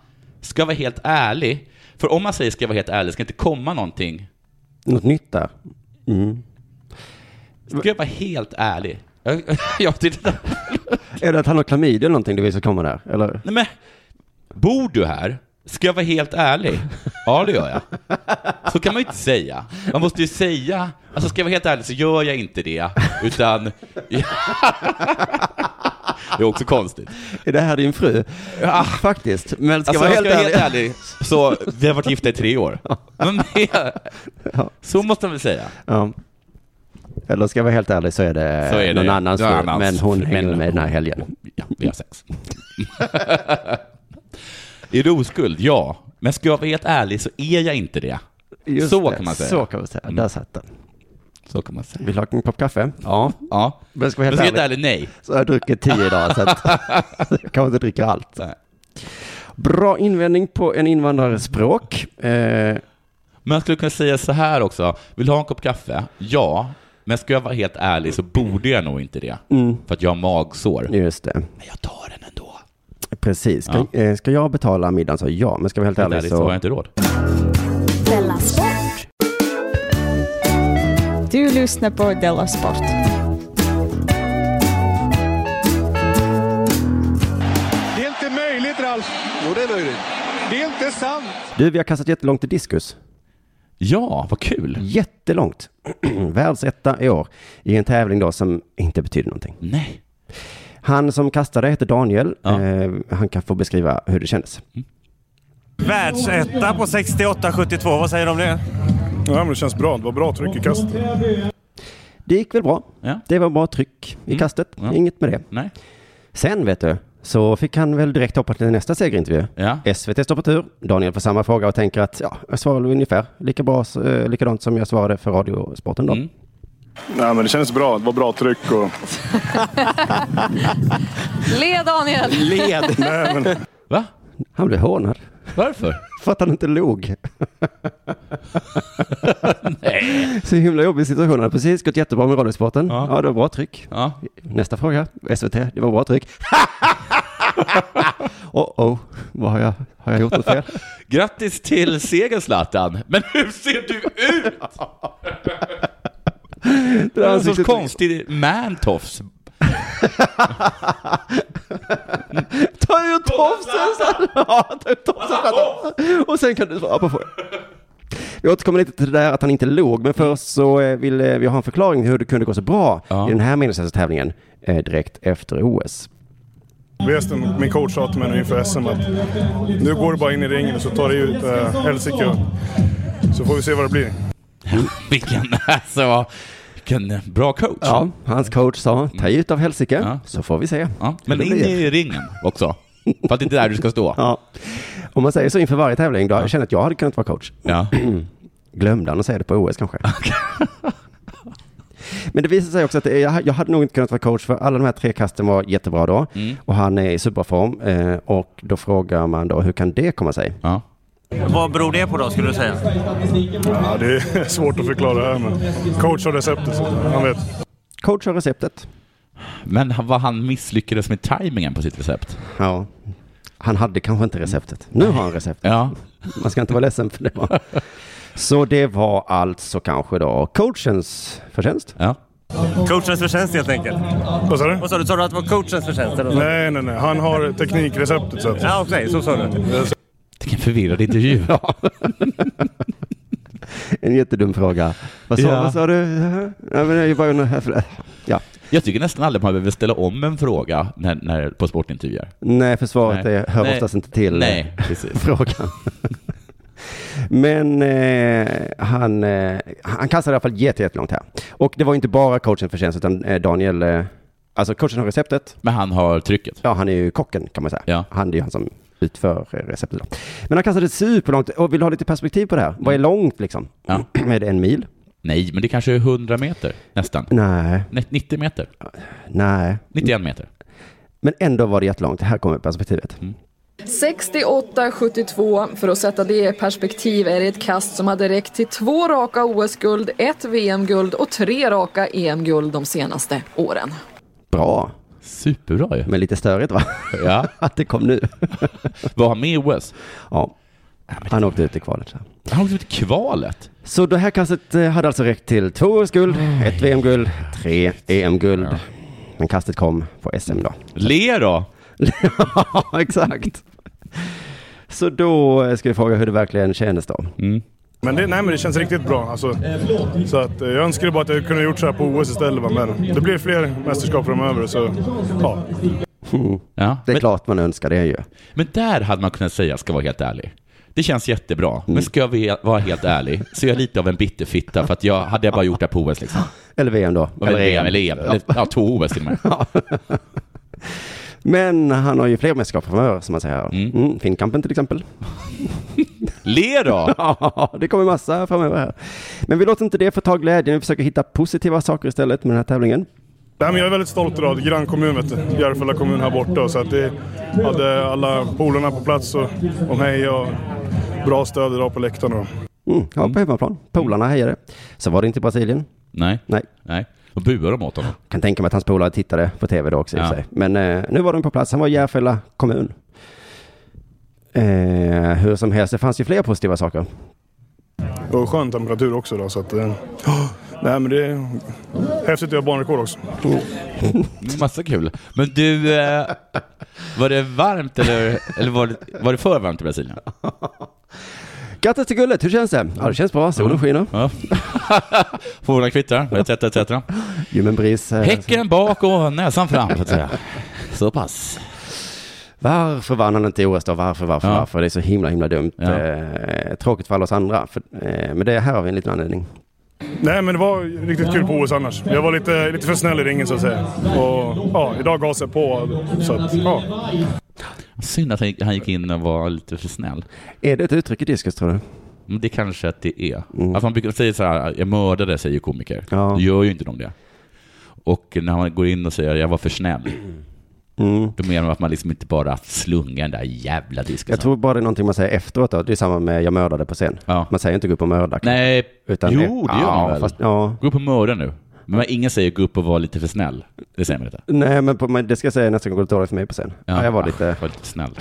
ska jag vara helt ärlig? För om man säger ska jag vara helt ärlig, ska inte komma någonting. Något nytt där. Mm. Ska jag vara helt ärlig? Jag, jag tyckte... Är det att han har klamydia eller någonting du vill ska komma där? Eller? Nej men, bor du här? Ska jag vara helt ärlig? Ja, det gör jag. Så kan man ju inte säga. Man måste ju säga, alltså ska jag vara helt ärlig så gör jag inte det, utan... det är också konstigt. Är det här din fru? Ja, faktiskt. Men ska Alltså, jag vara jag helt ska vara ärlig. helt ärlig, så vi har varit gifta i tre år. Men det, Ja. så måste man väl säga. Ja. Eller ska jag vara helt ärlig så är det, Så är alltså det någon annans någon fru, annans men hon fru. hänger Men- med mig den här helgen. Ja, vi har sex. är du oskuld? Ja. Men ska jag vara helt ärlig så är jag inte det. Just Så det, kan man säga. Mm. Så kan man säga. Där satt den. Så kan man säga. Vill du ha en kopp kaffe? Ja. ja. Men ska vi helt Men ska jag vara ärlig, helt ärlig, nej. så har jag druckit tio idag, så att jag kanske inte dricker allt. Nej. Bra invändning på en invandrares språk. Eh, Men jag skulle kunna säga så här också. Vill du ha en kopp kaffe? Ja. Men ska jag vara helt ärlig så borde jag nog inte det. Mm. För att jag har magsår. just det, Men jag tar den ändå. precis. Ska, eh, ska jag betala middagen så ja, men ska vi vara helt Helt ärlig ärligt så har jag så... inte råd. Della Sport. Du lyssnar på Della Sport. Det är inte möjligt, Ralf. Jo, det är möjligt. Det är inte sant. Du, vi har kastat jättelångt i diskus. Ja, vad Mm. kul. Jättelångt. Världsetta i år i en tävling då som inte betyder någonting. Nej. Han som kastade heter Daniel. Ja. Eh, han kan få beskriva hur det kändes. Världsetta på 68-72, vad säger du om det? Ja, men det känns bra. Det var bra tryck i kast. Det gick väl bra. Ja. Det var bra tryck i kastet. Ja. Inget med det. Nej. Sen vet du, så fick han väl direkt hoppa till nästa segerintervju. Ja. SVT står på tur. Daniel får samma fråga och tänker att ja, jag svarar väl ungefär lika bra, eh, likadant som jag svarade för Radiosporten då. Mm. Ja, men det känns bra. Det var bra tryck. Och... Le Daniel! Led. Nej, men... Va? Han blev hånad Varför? för att han inte log. Nej. Så himla jobbig situation. Han hade precis gått jättebra med Radiosporten. Ja. Ja. det var bra tryck. Ja. Nästa fråga, SVT, det var bra tryck. oh oh, vad har jag, har jag gjort något fel? Grattis till segern Zlatan. Men hur ser du ut? Det Du där har en sorts ansiktet- konstig man-tofs. Mm. Ta ut tofsen! sa han. Ja, ta ut tofsen! Och sen kan du svara på frågan. Vi återkommer lite till det där att han inte låg, men först så eh, vill eh, vi ha en förklaring hur det kunde gå så bra Ja. i den här meningslösa tävlingen eh, direkt efter OS. Resten, min coach sa till mig nu inför SM att nu går du bara in i ringen och så tar du ut äh, helsike. Så får vi se vad det blir. Vilken, alltså, vilken bra coach. Ja, hans coach sa, ta ut av helsike, Mm. Ja. så får vi se. Ja, Men Hur det in blir. i ringen också. För att det är där du ska stå. Ja. Om man säger så inför varje tävling, då jag känner att jag hade kunnat vara coach. Ja. Glömde han att säga det på OS kanske? Men det visar sig också att eh, jag jag hade nog inte kunnat vara coach för alla de här tre kasten var jättebra då. Mm. Och han är i superform. eh, Och då frågar man då, hur kan det komma sig? Ja. Vad beror det på då, skulle du säga? Ja, det är svårt att förklara här men coach har receptet så han vet. Coach har receptet. Men han- vad han misslyckades med tajmingen på sitt recept. Ja. Han hade kanske inte receptet. Nu har han receptet. Ja. Man ska inte vara ledsen för det. Var. Så det var alltså kanske då coachens förtjänst. ja. Coachens förtjänst helt enkelt. Vad sa du? Vad sa du? Sa du att det var coachens förtjänst? Eller? vad? Nej, nej, nej. Han har teknikreceptet så att... Ja, okej. så sa du. Vilken förvirrad intervju. En jättedum fråga. Vad sa, Ja. vad sa du? Ja, men jag bara undrar här för... Ja. Jag tycker nästan aldrig man behöver ställa om en fråga när, när, på sportintervjuer. Nej, försvaret Nej. är, hör Nej. oftast inte till eh, Nej, precis. frågan. Men eh, han, eh, han kastade i alla fall jätte- jättelångt här. Och det var inte bara coachens förtjänst, utan eh, Daniel, eh, alltså coachen har receptet. Men han har trycket. Ja, han är ju kocken kan man säga. Ja. Han det är ju han som utför eh, receptet. Då. Men han kastade superlångt. Och vill du ha lite perspektiv på det här? Vad är långt liksom? Mm. Ja. är det en mil? Nej, men det kanske är 100 meter nästan. Nej, Nej, 90 meter. nej. 91 meter. Men ändå var det jättelångt. Här kommer perspektivet. Mm. 68-72, för att sätta det i perspektiv, är det ett kast som hade räckt till två raka OS-guld, ett VM-guld och tre raka EM-guld de senaste åren. Bra, Superbra ju. men lite störigt va? Ja. Att det kom nu. Var han med i OS? Ja. Han åkte ut i kvalet. så. Han åkte ut i kvalet. Så det här kastet eh, hade alltså räckt till två OS-guld, ett VM-guld, tre EM-guld. Men kastet kom på SM då. Le då! Ja, exakt. Så då eh, ska vi fråga hur det verkligen kändes då. Mm. Men, det, nej, men det känns riktigt bra. Alltså, så att, eh, jag önskar bara att jag kunde gjort så här på OS istället. va, Men det blir fler mästerskap framöver. Så, ja. Ja. Det är men, klart man önskar det ju. men där hade man kunnat säga, ska vara helt ärlig. Det känns jättebra, men ska jag ve- vara helt ärlig så är jag lite av en bitterfitta för att jag hade jag bara gjort det här på OS liksom. Eller E VM då. Eller EM, eller E EM, eller ja, två OS till och med. Men han har ju fler mästerskap framöver som man säger. Mm. Finnkampen till exempel. Le då! Ja, det kommer massa framöver här. Men vi låter inte det förta glädjen. Vi försöker hitta positiva saker istället med den här tävlingen. Nej, men jag är väldigt stolt idag. Grannkommun, vet du. Järfälla kommun här borta. Så att det hade alla polarna på plats och, och mig och bra stöd idag på läktaren. då. Mm, ja, på hemmaplan. Polarna hejade. Så var det inte i Brasilien. Nej, Nej. nej. Då buar de åt honom. Kan tänka mig att hans polare tittade på tv då också i och för Ja. sig. Men eh, nu var de på plats. Han var i Järfälla kommun. Eh, hur som helst, det fanns ju fler positiva saker. Det var skön temperatur också idag. Så att, eh, ja. nej, men det är häftigt att göra banrekord också. Massa kul. Men du, eh, var det varmt eller, eller var, det, var det för varmt i Brasilien? Grattis till guldet, hur känns det? Ja, det känns bra. Solen skiner. Ja. Fåglarna kvittrar, etc, etc. Ljummen bris. eh, Häcken bak och näsan fram, så att säga. Så pass. Varför vann han inte i OS då? Varför, varför, Ja. varför? Det är så himla, himla dumt. Ja. Eh, tråkigt för alla oss andra. För, eh, men det här har vi en liten anledning. Nej, men det var riktigt kul på OS annars. Jag var lite, lite för snäll i ringen så att säga. Och ja, idag gav jag på. Så att, ja. Synd att han gick- han gick in och var lite för snäll. Är det ett uttryck i diskus tror du? Men Mm, det kanske att det är. Alltså man brukar säga så här, jag mördade, säger komiker. Mm. Ja. Då gör ju inte de det. Och när man går in och säger, jag var för snäll. Mm. Då menar man att man liksom inte bara slungar den där jävla disken. Jag tror bara det är någonting man säger efteråt då. Det är samma med jag mördade på scen. Ja. Man säger inte gå upp och mörda. Nej, Utan jo det det- gör Ja, man väl? fast- ja. Gå upp och mörda nu. Men ingen säger gå upp och var lite för snäll. Det säger man inte. Ah, Nej, men, på, men det ska jag säga nästa gång det går dåligt för mig på scen. Ja. jag var lite, var lite snäll.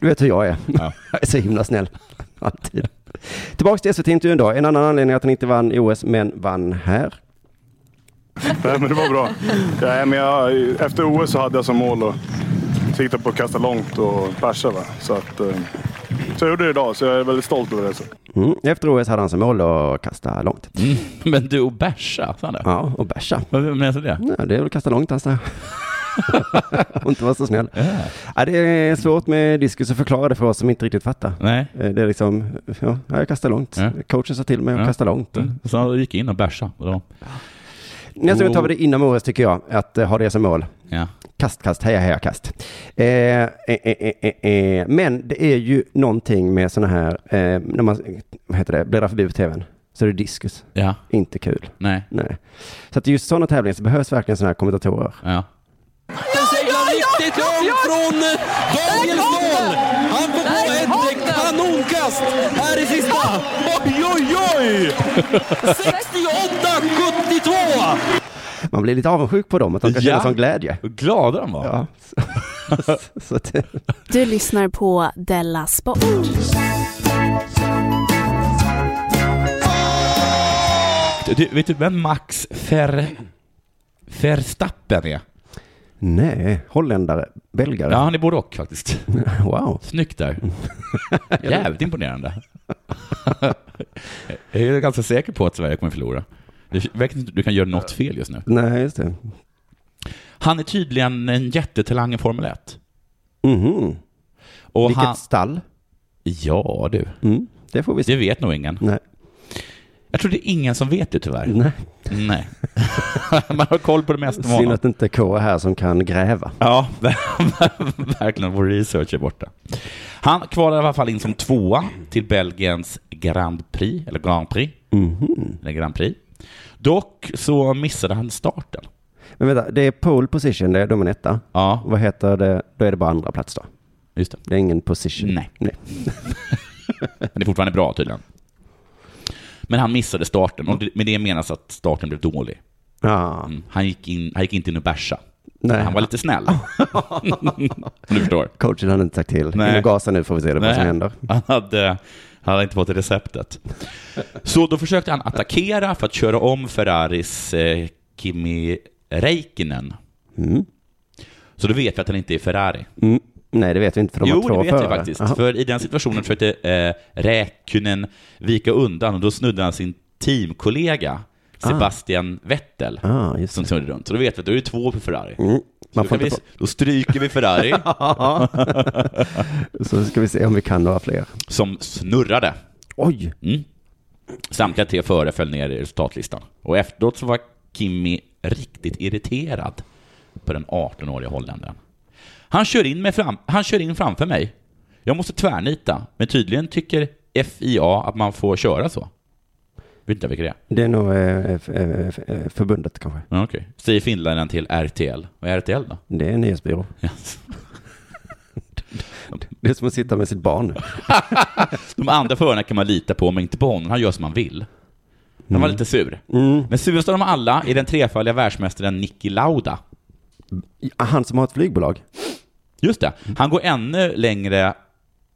du vet hur jag är. Ja. jag är så himla snäll. Alltid. Tillbaks till SVT-intervjun då. En annan anledning är att han inte vann i OS, men vann här. Nej, men det var bra. Ja, men jag, efter OS så hade jag som mål att sikta på att kasta långt och persa. Va? Så att, eh, Så jag gjorde det idag, så jag är väldigt stolt över det. Så. Mm. Efter OS hade han som mål att kasta långt. Mm. Men du och bärsa, sa han det? Ja, Mm. och bärsa. Vad menar du med det? Ja, det är väl att kasta långt alltså. och inte vara så snäll. Ja, det är svårt med diskus att förklara det för oss som inte riktigt fattar. Nej. Eh, Det är liksom, ja, jag kastar långt. Ja. Coachen sa till mig att Ja. kasta långt. Mm. Så han gick in och bärsa. Och då, Nästa gång tar vi Oh. det inom OS tycker jag, att eh, ha det som mål. ja. Kast, kast, heja, heja, kast. Eh, eh, eh, eh, eh. Men det är ju någonting med sådana här, eh, när man vad heter det, bläddrar förbi på tvn, så är det diskus. ja, Inte kul. nej, Nej. Så att i just sådana tävlingar så behövs verkligen sådana här kommentatorer. ja. Den seglar riktigt långt från Daniel Ståhl. Han får på ett kanonkast här i sista. Oj, oj, oj! 68-72! Man blir lite avundsjuk på dem, att de kan känna Ja. sån glädje. Vad glada de var. Ja. Så, så att, Du lyssnar på Della Sport. Du, vet du vem Max Fer... Verstappen är? nej, holländare, belgare. Ja, han är både och faktiskt. Wow. Snyggt där. Jävligt imponerande. Jag är ganska säker på att Sverige kommer förlora. Det verkar inte- Du kan göra något fel just nu. Nej, just det. Han är tydligen en jättetalang i Formel 1. Mhm. Och Vilket han... stall. Ja, du. Mm. Det får vi se. Det vet nog ingen. Nej. Jag tror det är ingen som vet det tyvärr. Nej. Nej. Man har koll på det mesta om Synd honom. att inte K är här som kan gräva. Ja, verkligen. Vår research är borta. Han kvalar i alla fall in som tvåa till Belgiens Grand Prix, eller Grand Prix. Eller Grand Prix. Dock så missade han starten. Men vänta, det är pole position, det är de är etta. Ja, Vad heter det? Då är det bara andra plats då. just det. Det är ingen position. Nej. Men det är fortfarande bra tydligen. Men han missade starten, och det- med det menas att starten blev dålig. Ja. Mm. Han, gick in, han gick inte in och bärsa. Nej. Han var lite snäll. Om du förstår. Coachen hade inte sagt till. Nej. Nej. Gasa nu får vi se det, vad som händer. Han hade, han hade inte fått receptet. Så då försökte han attackera för att köra om Ferraris eh, Kimi Räikkönen. Mm. Så då vet vi att han inte är Ferrari. Mm. Nej, det vet vi inte för de jo, har två det vet vi förare. faktiskt. Jaha. För i den situationen försökte eh, Räikkönen vika undan och då snudde han sin teamkollega Sebastian Vettel. Ah, just Som det. snurrade runt. Så då vet vi att då är det två för Ferrari. Mm. Man Då, får kan vi, inte då stryker vi Ferrari få... Så ska vi se om vi kan några fler. som snurrade. Oj! Mm. Samtliga tre före föll ner i resultatlistan. Och efteråt så var Kimi riktigt irriterad på den 18-åriga holländaren. Han kör, in med fram, han kör in framför mig. Jag måste tvärnita, men tydligen tycker FIA att man får köra så. Vet inte vilka det är. Det är nog eh, f- eh, f- eh, förbundet kanske. Ja, okej. Säger finländaren till RTL. Vad är RTL då? Det är en nyhetsbyrå. Yes. Det är som att sitta med sitt barn. De andra förarna kan man lita på, men inte på honom. Han gör som han vill. Han var lite sur. Men surast av dem alla är den trefaldiga världsmästaren Niki Lauda. Han som har ett flygbolag. Just det. Han går ännu längre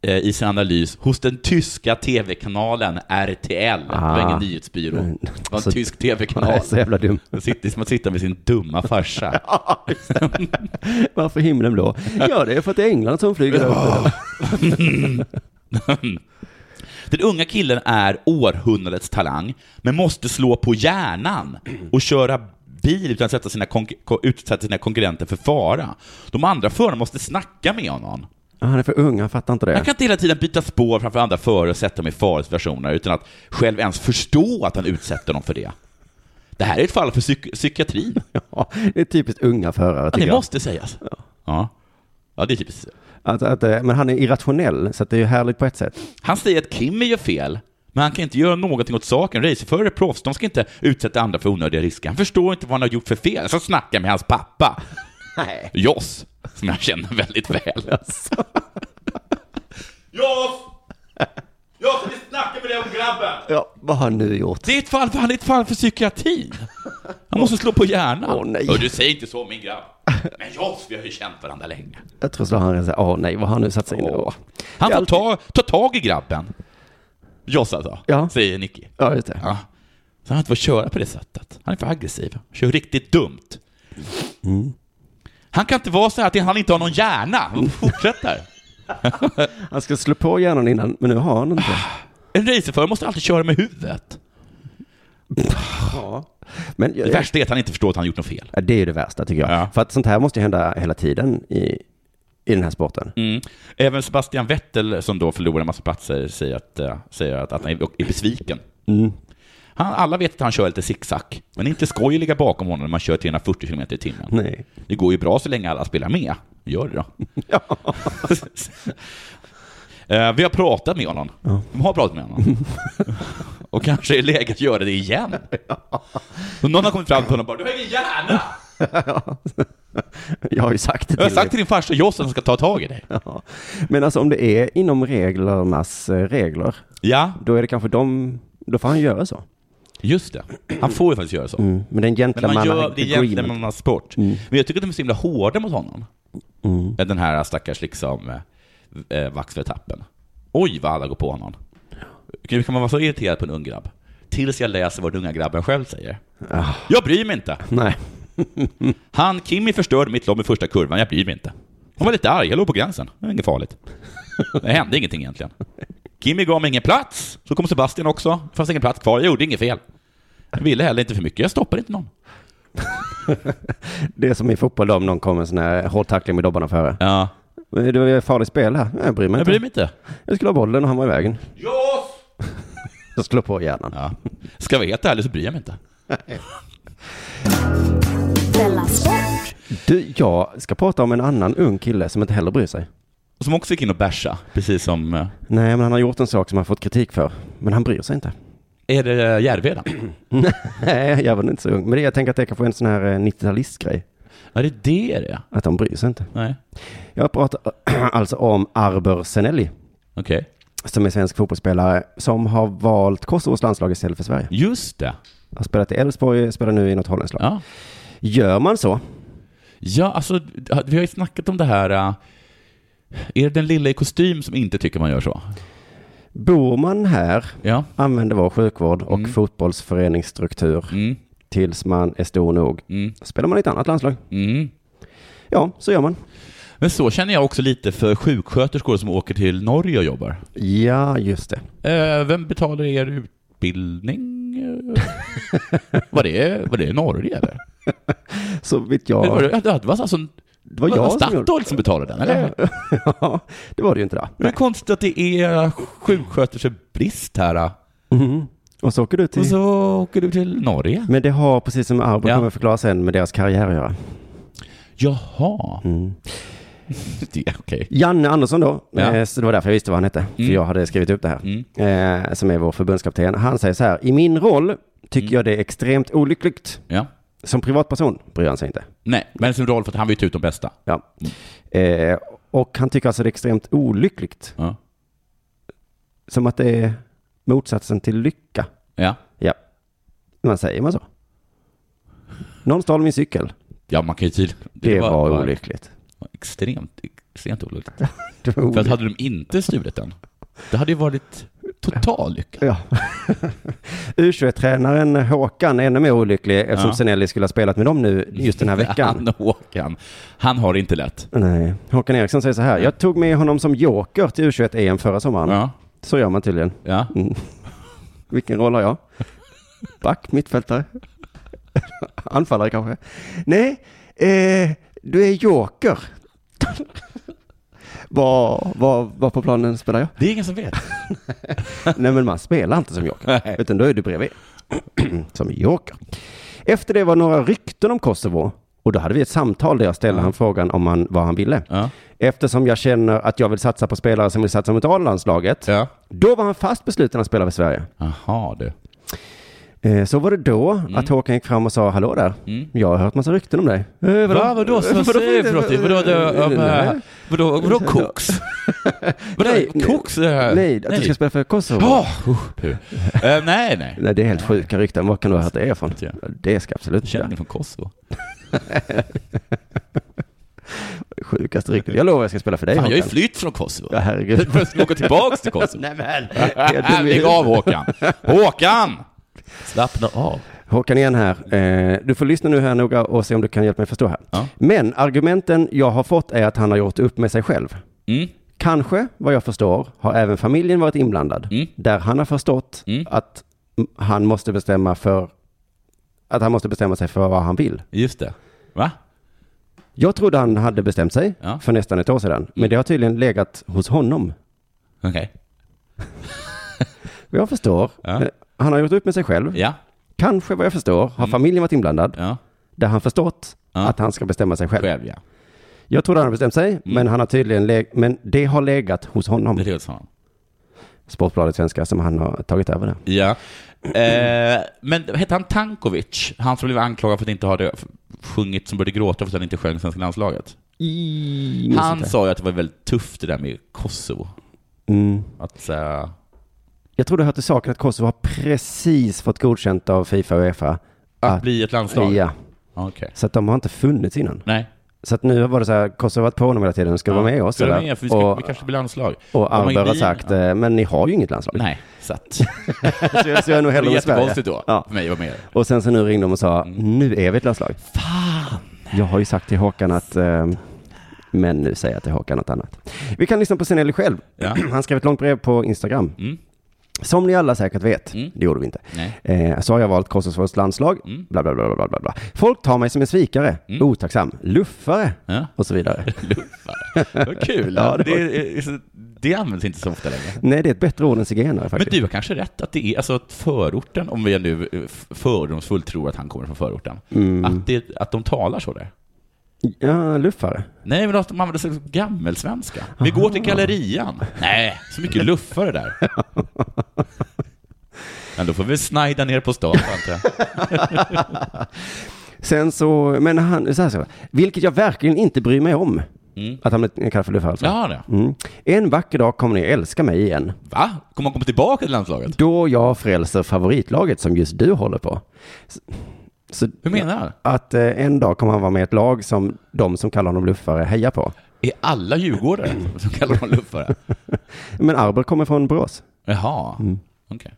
eh, i sin analys hos den tyska tv-kanalen RTL. Det var Ah. ingen nyhetsbyrå. Det var en Så- tysk Han är tv-kanal. så jävla dum. Det sitter som att sitta med sin dumma farsa. Varför himlen blå? Ja, det är för att det är England som flyger där uppe. Den unga killen är århundradets talang, men måste slå på hjärnan och köra bil utan att sätta sina, konk- ko- utsätta sina konkurrenter för fara. De andra förarna måste snacka med honom. Ja, Han är för ung, han fattar inte det. Han kan inte hela tiden byta spår framför andra förare och sätta dem i farosituationer utan att själv ens förstå att han utsätter dem för det. Det här är ett fall för psyk- psykiatrin. Ja, det är typiskt unga förare, Ja, tycker det jag. måste sägas. Ja. Ja, det är typiskt. Att, att, eh, men han är irrationell, så att det är ju härligt på ett sätt. Han säger att Kimmy gör fel, men han kan inte göra någonting åt saken. Racerförare är proffs, de ska inte utsätta andra för onödiga risker. Han förstår inte vad han har gjort för fel. Jag ska snacka med hans pappa, Nej. Joss, som jag känner väldigt väl. Joss! Joss, vi snackar med dig om grabben! Ja, vad har han nu gjort? Det är ett fall för, han är ett fall för psykiatrin. Han måste slå på hjärnan. Åh, nej. Och du säger inte så min grabb. Men Joss, vi har ju känt varandra länge. Jag tror att han redan säger, åh nej, vad har han nu satt sig in i? Åh. Han Det är får alltid- ta, ta tag i grabben. Joss alltså, Ja. säger Nicky. Ja, just det. Ja. Så han inte får köra på det sättet. Han är för aggressiv. Kör riktigt dumt. Mm. Han kan inte vara så här att han inte har någon hjärna. Han fortsätter. Han ska slå på hjärnan innan, men nu har han Ah, inte. En racerförare måste alltid köra med huvudet. Ja. Men Det jag, värsta är att han inte förstår att han gjort något fel. Ja, det är ju det värsta tycker jag. Ja. För att sånt här måste ju hända hela tiden i, i den här sporten. Mm. Även Sebastian Vettel, som då förlorar en massa platser, säger att, eh, säger att, att han är är besviken. Mm. Han, alla vet att han kör lite zigzag, men det är inte skoj att ligga bakom honom när man kör 340 km i timmen. Nej. Det går ju bra så länge alla spelar med. Gör det då. Eh, Vi har pratat med honom. Vi har pratat med honom. Och kanske är läget att göra det igen. Och någon har kommit fram till honom och bara ”Du har ingen hjärna!” Jag har ju sagt det Jag har till sagt dig. till din farsa Joss att han ska ta tag i dig. Ja. Men alltså om det är inom reglernas eh, regler, Ja, då är det kanske de, då får han göra så. just det. Han får ju faktiskt göra så. Mm. Men det är en Men man gör, gentleman det är agreement. gentlemannasport. sport. Men jag tycker att de är så himla hårda mot honom. Den här stackars liksom eh, eh, Vaxvertappen. Oj vad alla går på honom. Hur kan man vara så irriterad på en ung grabb? Tills jag läser vad den unga grabben själv säger. Jag bryr mig inte. Nej. Han Kimi förstörde mitt lopp i första kurvan, jag bryr mig inte. Han var lite arg, jag låg på gränsen. Det var inget farligt. Det hände ingenting egentligen. Kimi gav mig ingen plats, så kom Sebastian också. Det fanns ingen plats kvar, jag gjorde inget fel. Jag ville heller inte för mycket, jag stoppade inte någon. Det är som i fotboll då, om någon kommer en sån här hård tackling med dobbarna före. Ja. Men Det var ju farligt spel här. Nej, Jag bryr mig Jag inte. bryr mig inte. Jag skulle ha bollen och han var i vägen. Yes! Jag slår på hjärnan. Ja. Ska jag vara helt ärlig så bryr jag mig inte. Della Sport. Du, jag ska prata om en annan ung kille som inte heller bryr sig. Som också gick in och bärsa, precis som... eh, Nej, men han har gjort en sak som han fått kritik för. Men han bryr sig inte. Är det eh, Järveda? Nej, jag var inte så ung. Men det, jag tänker att det kanske är en sån här eh, 90-talistgrej. Ja, det är det det är. Att de bryr sig inte. Nej. Jag pratar alltså om Arber Senelli, Okej. som är svensk fotbollsspelare, som har valt Kosovos landslag istället för Sverige. Just det. Har spelat i Elfsborg, spelar nu i något holländskt lag. Ja. Gör man så? ja, alltså vi har ju snackat om det här... eh, Är det den lilla i kostym som inte tycker man gör så? Bor man här, Ja. använder vår sjukvård och Mm. fotbollsföreningsstruktur Mm. tills man är stor nog, Mm. spelar man i ett annat landslag. Mm. Ja, så gör man. Men så känner jag också lite för sjuksköterskor som åker till Norge och jobbar. Ja, just det. Eh, vem betalar er utbildning? Eh, var, det, var det Norge eller? Så vitt Men var jag... det, det var alltså en, Det var jag som gjorde... Statoil som betalade den, eller? Ja, det var det ju inte då. Men Det är konstigt att det är sjuksköterskebrist här. då. Mhm. Och så åker du till... Mm. Och så åker du till Norge. Men det har, precis som Arbo Ja. kommer förklara sen, med deras karriär att göra. Jaha. Det, okej. Janne Andersson då, Ja. Mm. eh, så det var därför jag visste vad han hette, för jag hade skrivit upp det här, eh, som är vår förbundskapten. Han säger så här, i min roll tycker Mm. jag det är extremt olyckligt. Ja. Som privatperson bryr han sig inte. Nej, men sin roll för att han vill ta ut de bästa. Ja. Eh, och han tycker alltså det är extremt olyckligt, Ja. som att det är motsatsen till lycka. Ja, Ja, men säger man så? Någon stal min cykel. ja man kan ju tydligen... Det, var, olyckligt. var Extremt, extremt olyckligt. Det var För att olyckligt. hade de inte stulit den, det hade ju varit total lycka. Ja. U21-tränaren Håkan är ännu mer olycklig eftersom Ja. Senelli skulle ha spelat med dem nu just den här veckan. Han, Håkan, han har det inte lätt. Nej. Håkan Eriksson säger så här. Jag tog med honom som joker till U21-EM förra sommaren. Ja, Så gör man tydligen. ja. Vilken roll har jag? Back, mittfältare? Anfallare kanske? Nej, eh, du är joker. Var, var, var på planen spelar jag? Det är ingen som vet. Nej men man spelar inte som joker, utan då är du bredvid. som joker. Efter det var några rykten om Kosovo. Och då hade vi ett samtal där jag ställde han frågan om han, vad han ville. Ja. Eftersom jag känner att jag vill satsa på spelare som vill satsa mot A-landslaget. Ja. Då var han fast besluten att spela för Sverige. Jaha, du. Eh, Så var det då Mm. att Håkan gick fram och sa hallå där. Jag har hört massa rykten om dig. Eh, Va, Mm. vadå? Så, vad säger du för någonting? Vadå, det, ja, men- vadå, vadå koks? Vadå, Nej, nej. koks? eh, Nej, att du ska spela för Kosovo. Åh, Ah, usch, puh. Eh, nej, nej. Nej, det är helt sjuka rykten. Var kan du ha hört det ifrån? Ja. Det ska absolut inte Känning från Kosovo. Sjukaste ryktet. Jag lovar jag ska spela för dig. Fan, jag har ju Håkan. flytt från Kosovo. Ja, herregud. Jag ska åka tillbaks till Kosovo. Nej, men. Ah, Lägg av Håkan. Håkan! Slappna av. Håkan igen här. Eh, Du får lyssna nu här noga och se om du kan hjälpa mig förstå här. Ja. Men argumenten jag har fått är att han har gjort upp med sig själv. Mm. Kanske, vad jag förstår, har även familjen varit inblandad. Mm. Där han har förstått Mm. att m- han måste bestämma för att han måste bestämma sig för vad han vill. Just det. Va? Jag trodde han hade bestämt sig Ja. Mm. för nästan ett år sedan, men det har tydligen legat hos honom. Okej. Och Jag förstår. Ja. Eh, Han har gjort upp med sig själv. Ja. Kanske, vad jag förstår, har familjen varit inblandad. Ja. Där han förstått Mm. Ja. att han ska bestämma sig själv. Själv, ja. Jag trodde han hade bestämt sig, men han har tydligen leg- men det har legat hos honom. Det är hos honom. Sportbladet Svenska som han har tagit över det. Ja. Eh, men hette han Tankovic? Han som blev anklagad för att inte ha det, sjungit som började gråta för att han inte sjöng svenska landslaget. Han sa ju att det var väldigt tufft det där med Kosovo. Mm. Att, eh, Jag tror det hör till saken att Kosovo har precis fått godkänt av Fifa och Uefa. att bli ett landslag. Ah, Ah, Ja, Okej. så att de har inte funnits innan. Nej. Så att nu var det så här, Kosovo har varit på honom hela tiden, ska du vara med oss? Ska du eller? med? För vi, ska, och vi kanske blir landslag. och Om man- Arber har vi- sagt, eh, men ni har ju inget landslag. Nej, så att... Så jag, så jag är nog Det hellre var med Sverige. jättekonstigt Mm. då, Ja. för mig att vara med. Och sen så nu ringde de och sa, nu är vi ett landslag. Fan! Jag har ju sagt till Håkan att, eh, men nu säger jag till Håkan något annat. Vi kan lyssna på Sinelli själv. Ja. Han skrev ett långt brev på Instagram. Mm. Som ni alla säkert vet, Mm. det gjorde vi inte, Nej. eh, så har jag valt Kosovos landslag, Mm. bla, bla, bla, bla, bla, bla, bla. Folk tar mig som en svikare, Mm. otacksam, luffare Ja. och så vidare. Luffare. Vad kul. Ja, det det, var- är- det används inte så ofta längre. Nej, det är ett bättre ord än zigenare Men faktiskt. du har kanske rätt att det är, alltså att förorten, om vi nu eh, f- fördomsfullt tror att han kommer från förorten, att, det, att de talar så där. typ- Ja, luffare. Nej, men att de använder sig av gammelsvenska. Vi går till gallerian. Nej, så mycket luffare där. Men då får vi snajda ner på stan, antar jag. Sen så, men han, så här, så här, vilket jag verkligen inte bryr mig om. Mm. Att han blev kallad för luffare alltså. Jaha, det. Mm. En vacker dag kommer ni älska mig igen. Va? Kommer han komma tillbaka till landslaget? Då jag frälser favoritlaget som just du håller på. Så- Så, Hur menar han? Att eh, en dag kommer han vara med i ett lag som de som kallar honom luffare hejar på. Är alla djurgårdare som kallar dem luffare? Men Arber kommer från Borås. Jaha, okej.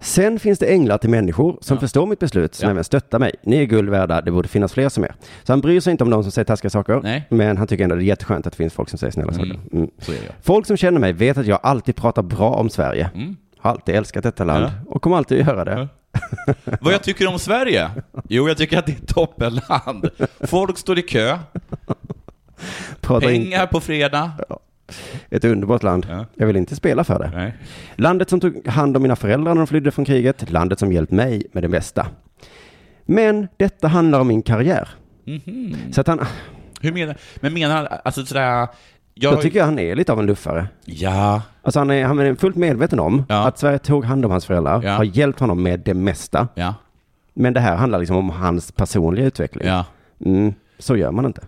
Sen finns det änglar till människor som förstår mitt beslut, som Ja. även stöttar mig. Ni är guld värda, det borde finnas fler som er. Så han bryr sig inte om de som säger taskiga saker, Nej. men han tycker ändå det är jätteskönt att det finns folk som säger snälla saker. Mm. Så är det. Folk som känner mig vet att jag alltid pratar bra om Sverige. Mm. Har alltid älskat detta land och kommer alltid göra det. Vad jag tycker om Sverige? Jo, jag tycker att det är ett toppenland. Folk står i kö, Pratar in pengar på fredag. ett underbart land. Ja. Jag vill inte spela för det. Nej. Landet som tog hand om mina föräldrar när de flydde från kriget. Landet som hjälpt mig med det mesta. Men detta handlar om min karriär. Mhm. Så att han, Hur menar Men menar han, alltså sådär... jag, Jag, tycker han är lite av en luffare. Ja, Alltså han är, han är fullt medveten om Ja. att Sverige tog hand om hans föräldrar, Ja. har hjälpt honom med det mesta. ja, Men det här handlar liksom om hans personliga utveckling. ja. Mm, så gör man inte.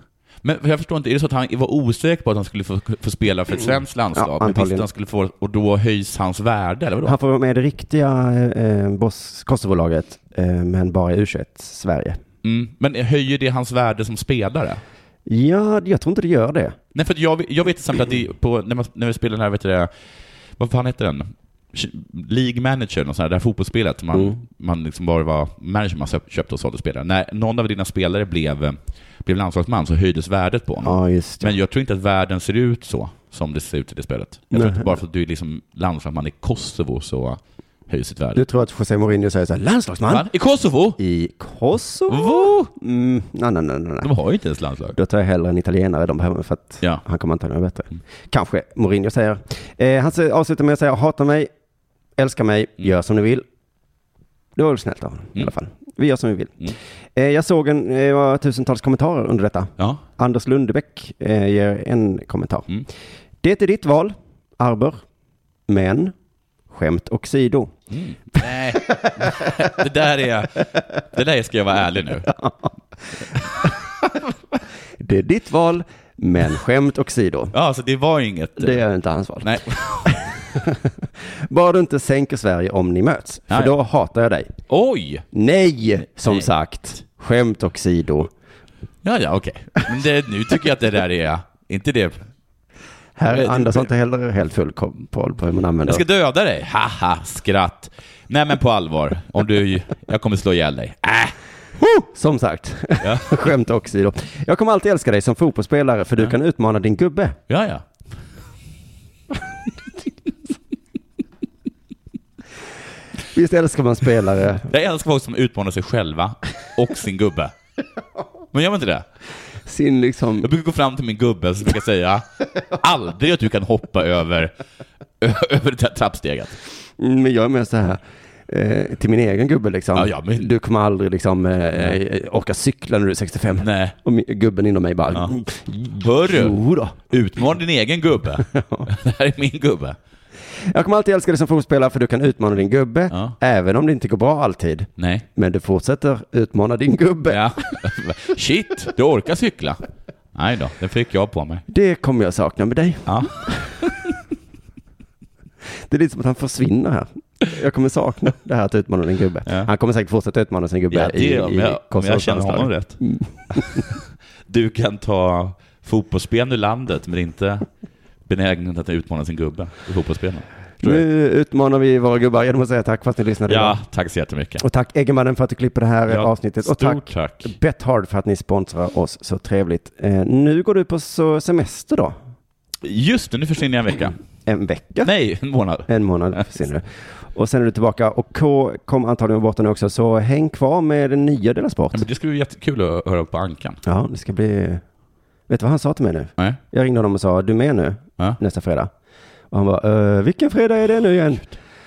Men jag förstår inte, är det så att han var osäker på att han skulle få, få spela för ett svenskt landslag? Ja, men visste antagligen. att han skulle få, och då höjs hans värde, eller vadå? Han får vara med i det riktiga eh, eh, Bos- Kosovo-laget, eh, men bara i U21 Sverige. Mm. Men höjer det hans värde som spelare? Ja, jag tror inte det gör det. Nej, för att jag, jag vet till exempel att det är på, när, man, när vi spelar den här, vet du det, vad fan heter den? Ch- League Manager, och sånt här, det här fotbollsspelet som man, Mm. man liksom bara var manager man söp- köpte och sålde spelare. När någon av dina spelare blev, blev landslagsman så höjdes värdet på honom. Ja, just det. Men jag tror inte att världen ser ut så som det ser ut i det spelet. Jag tror inte bara för att du är liksom landslagsman i Kosovo så höjs ditt värde. Du tror att José Mourinho säger så här, landslagsman? Man, I Kosovo? I Kosovo? Vo! Mm, nej, nej, nej, nej. De har ju inte ens landslag. Då tar jag hellre en italienare de behöver för att Ja. han kommer antagligen vara bättre. Kanske Mourinho säger. Eh, han säger- avslutar med att säga, hata mig, älska mig, Mm. gör som ni vill. Det var väl snällt av honom i alla fall. Vi gör som vi vill. Mm. Eh, jag såg en, eh, var tusentals kommentarer under detta. Ja. Anders Lundebäck eh, ger en kommentar. Mm. Det är ditt val, Arber, men skämt åsido. Nej, det där är... Det där ska jag vara ärlig nu. Det är ditt val, men skämt åsido. Ja, så det var ju inget... Det är inte hans val. Nej. Bara du inte sänker Sverige om ni möts, för Nej. då hatar jag dig. Oj! Nej, som Nej. sagt. Skämt åsido. Ja, ja, okej. Men det, nu tycker jag att det där är... Inte det... Här Nej, är det- Anders har inte heller helt full koll på hur man använder. Jag ska döda dig! Haha, skratt. Nej, men på allvar. Om du... Jag kommer slå ihjäl dig. Äh, Som sagt, Ja. skämt åsido. Jag kommer alltid älska dig som fotbollsspelare för du kan utmana din gubbe. ja, ja. Visst älskar man spelare? Jag älskar folk som utmanar sig själva och sin gubbe. Men gör man inte det? Sin liksom... Jag brukar gå fram till min gubbe och så brukar jag säga aldrig att du kan hoppa över, över det här trappsteget. Mm, Men jag är mer så här. Eh, till min egen gubbe liksom. Ja, ja, men- Du kommer aldrig liksom eh, eh, orka cykla när du är 65. Nej. Och min, gubben inom mig bara. Ja. Ja. Hörru, Jo då. utmana din egen gubbe. Det här är min gubbe. Jag kommer alltid älska dig som fotbollsspelare för du kan utmana din gubbe. Ja. Även om det inte går bra alltid. Nej. Men du fortsätter utmana din gubbe. Ja. Shit, du orkar cykla. Nej då, den fick jag på mig. Det kommer jag sakna med dig. Ja. Det är lite som att han försvinner här. Jag kommer sakna det här att utmana din gubbe. Ja. Han kommer säkert fortsätta utmana sin gubbe Ja, det i, är om jag, om jag känner konsertlandslaget. honom rätt. Du kan ta fotbollsspelaren ur landet, men inte benägenhet att utmana sin gubbe i fotbollsspelen. tror jag. Nu utmanar vi våra gubbar genom att säga tack för att ni lyssnade. idag. Ja, tack så jättemycket. Och tack Eggemannen för att du klipper det här eh, Ja, avsnittet. Och tack Stort tack. Bethard för att ni sponsrar oss så trevligt. Eh, nu går du på så semester då. Just det, nu försvinner jag en vecka. En vecka. Nej, en månad. En månad försvinner du. Och sen är du tillbaka. Och K kom antagligen bort nu också. Så häng kvar med den nya Dela Sport. Ja, men det skulle bli jättekul att höra på Ankan. Ja, det ska bli... Vet du vad han sa till mig nu? Nej? Jag ringde honom och sa, du är med nu Ja. nästa fredag? Och han bara, "Eh, vilken fredag är det nu igen?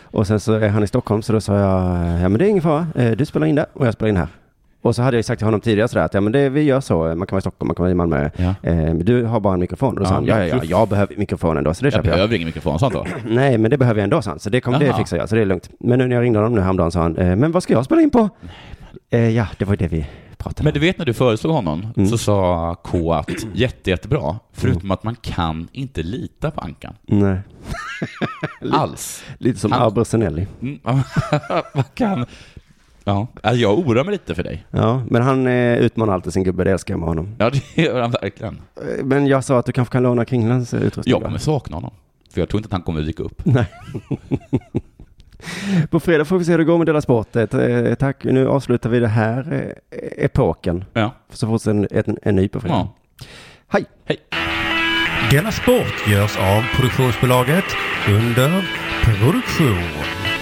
Och sen så är han i Stockholm, så då sa jag, ja men det är ingen fara, Eh, du spelar in där och jag spelar in här. Och så hade jag ju sagt till honom tidigare sådär att ja, men det, vi gör så, man kan vara i Stockholm, man kan vara i Malmö. Ja. Eh, men du har bara en mikrofon. Och då sa Ja, han, ja, ja, ja, mikrofon. jag behöver mikrofonen då, så det Jag köper jag. behöver ingen mikrofon, sånt då. Nej, men det behöver jag ändå, sa han. Så det, kommer det Aha. fixar jag, så det är lugnt. Men nu när jag ringde honom nu häromdagen sa han, eh, men vad ska jag spela in på? Eh, ja, det var ju det vi pratade Men om. du vet när du föreslog honom Mm. så sa K att jätte, jättebra, förutom att man kan inte lita på Ankan. Nej, Alls. lite som Han- Abro Senelli. Mm. man kan... Ja, alltså, jag oroar mig lite för dig. Ja, men han eh, utmanar alltid sin gubbe, det älskar jag med honom. Ja, det gör han verkligen. Eh, Men jag sa att du kanske kan låna Kringlands eh, utrustning? Jag då? kommer sakna honom. För jag tror inte att han kommer dyka upp. På fredag får vi se hur det går med Dela Sport. Eh, eh, Tack, nu avslutar vi det här eh, epoken. Ja. Så får en, en, en ny på fredag. ja. Hej! Della Sport görs av produktionsbolaget under produktion.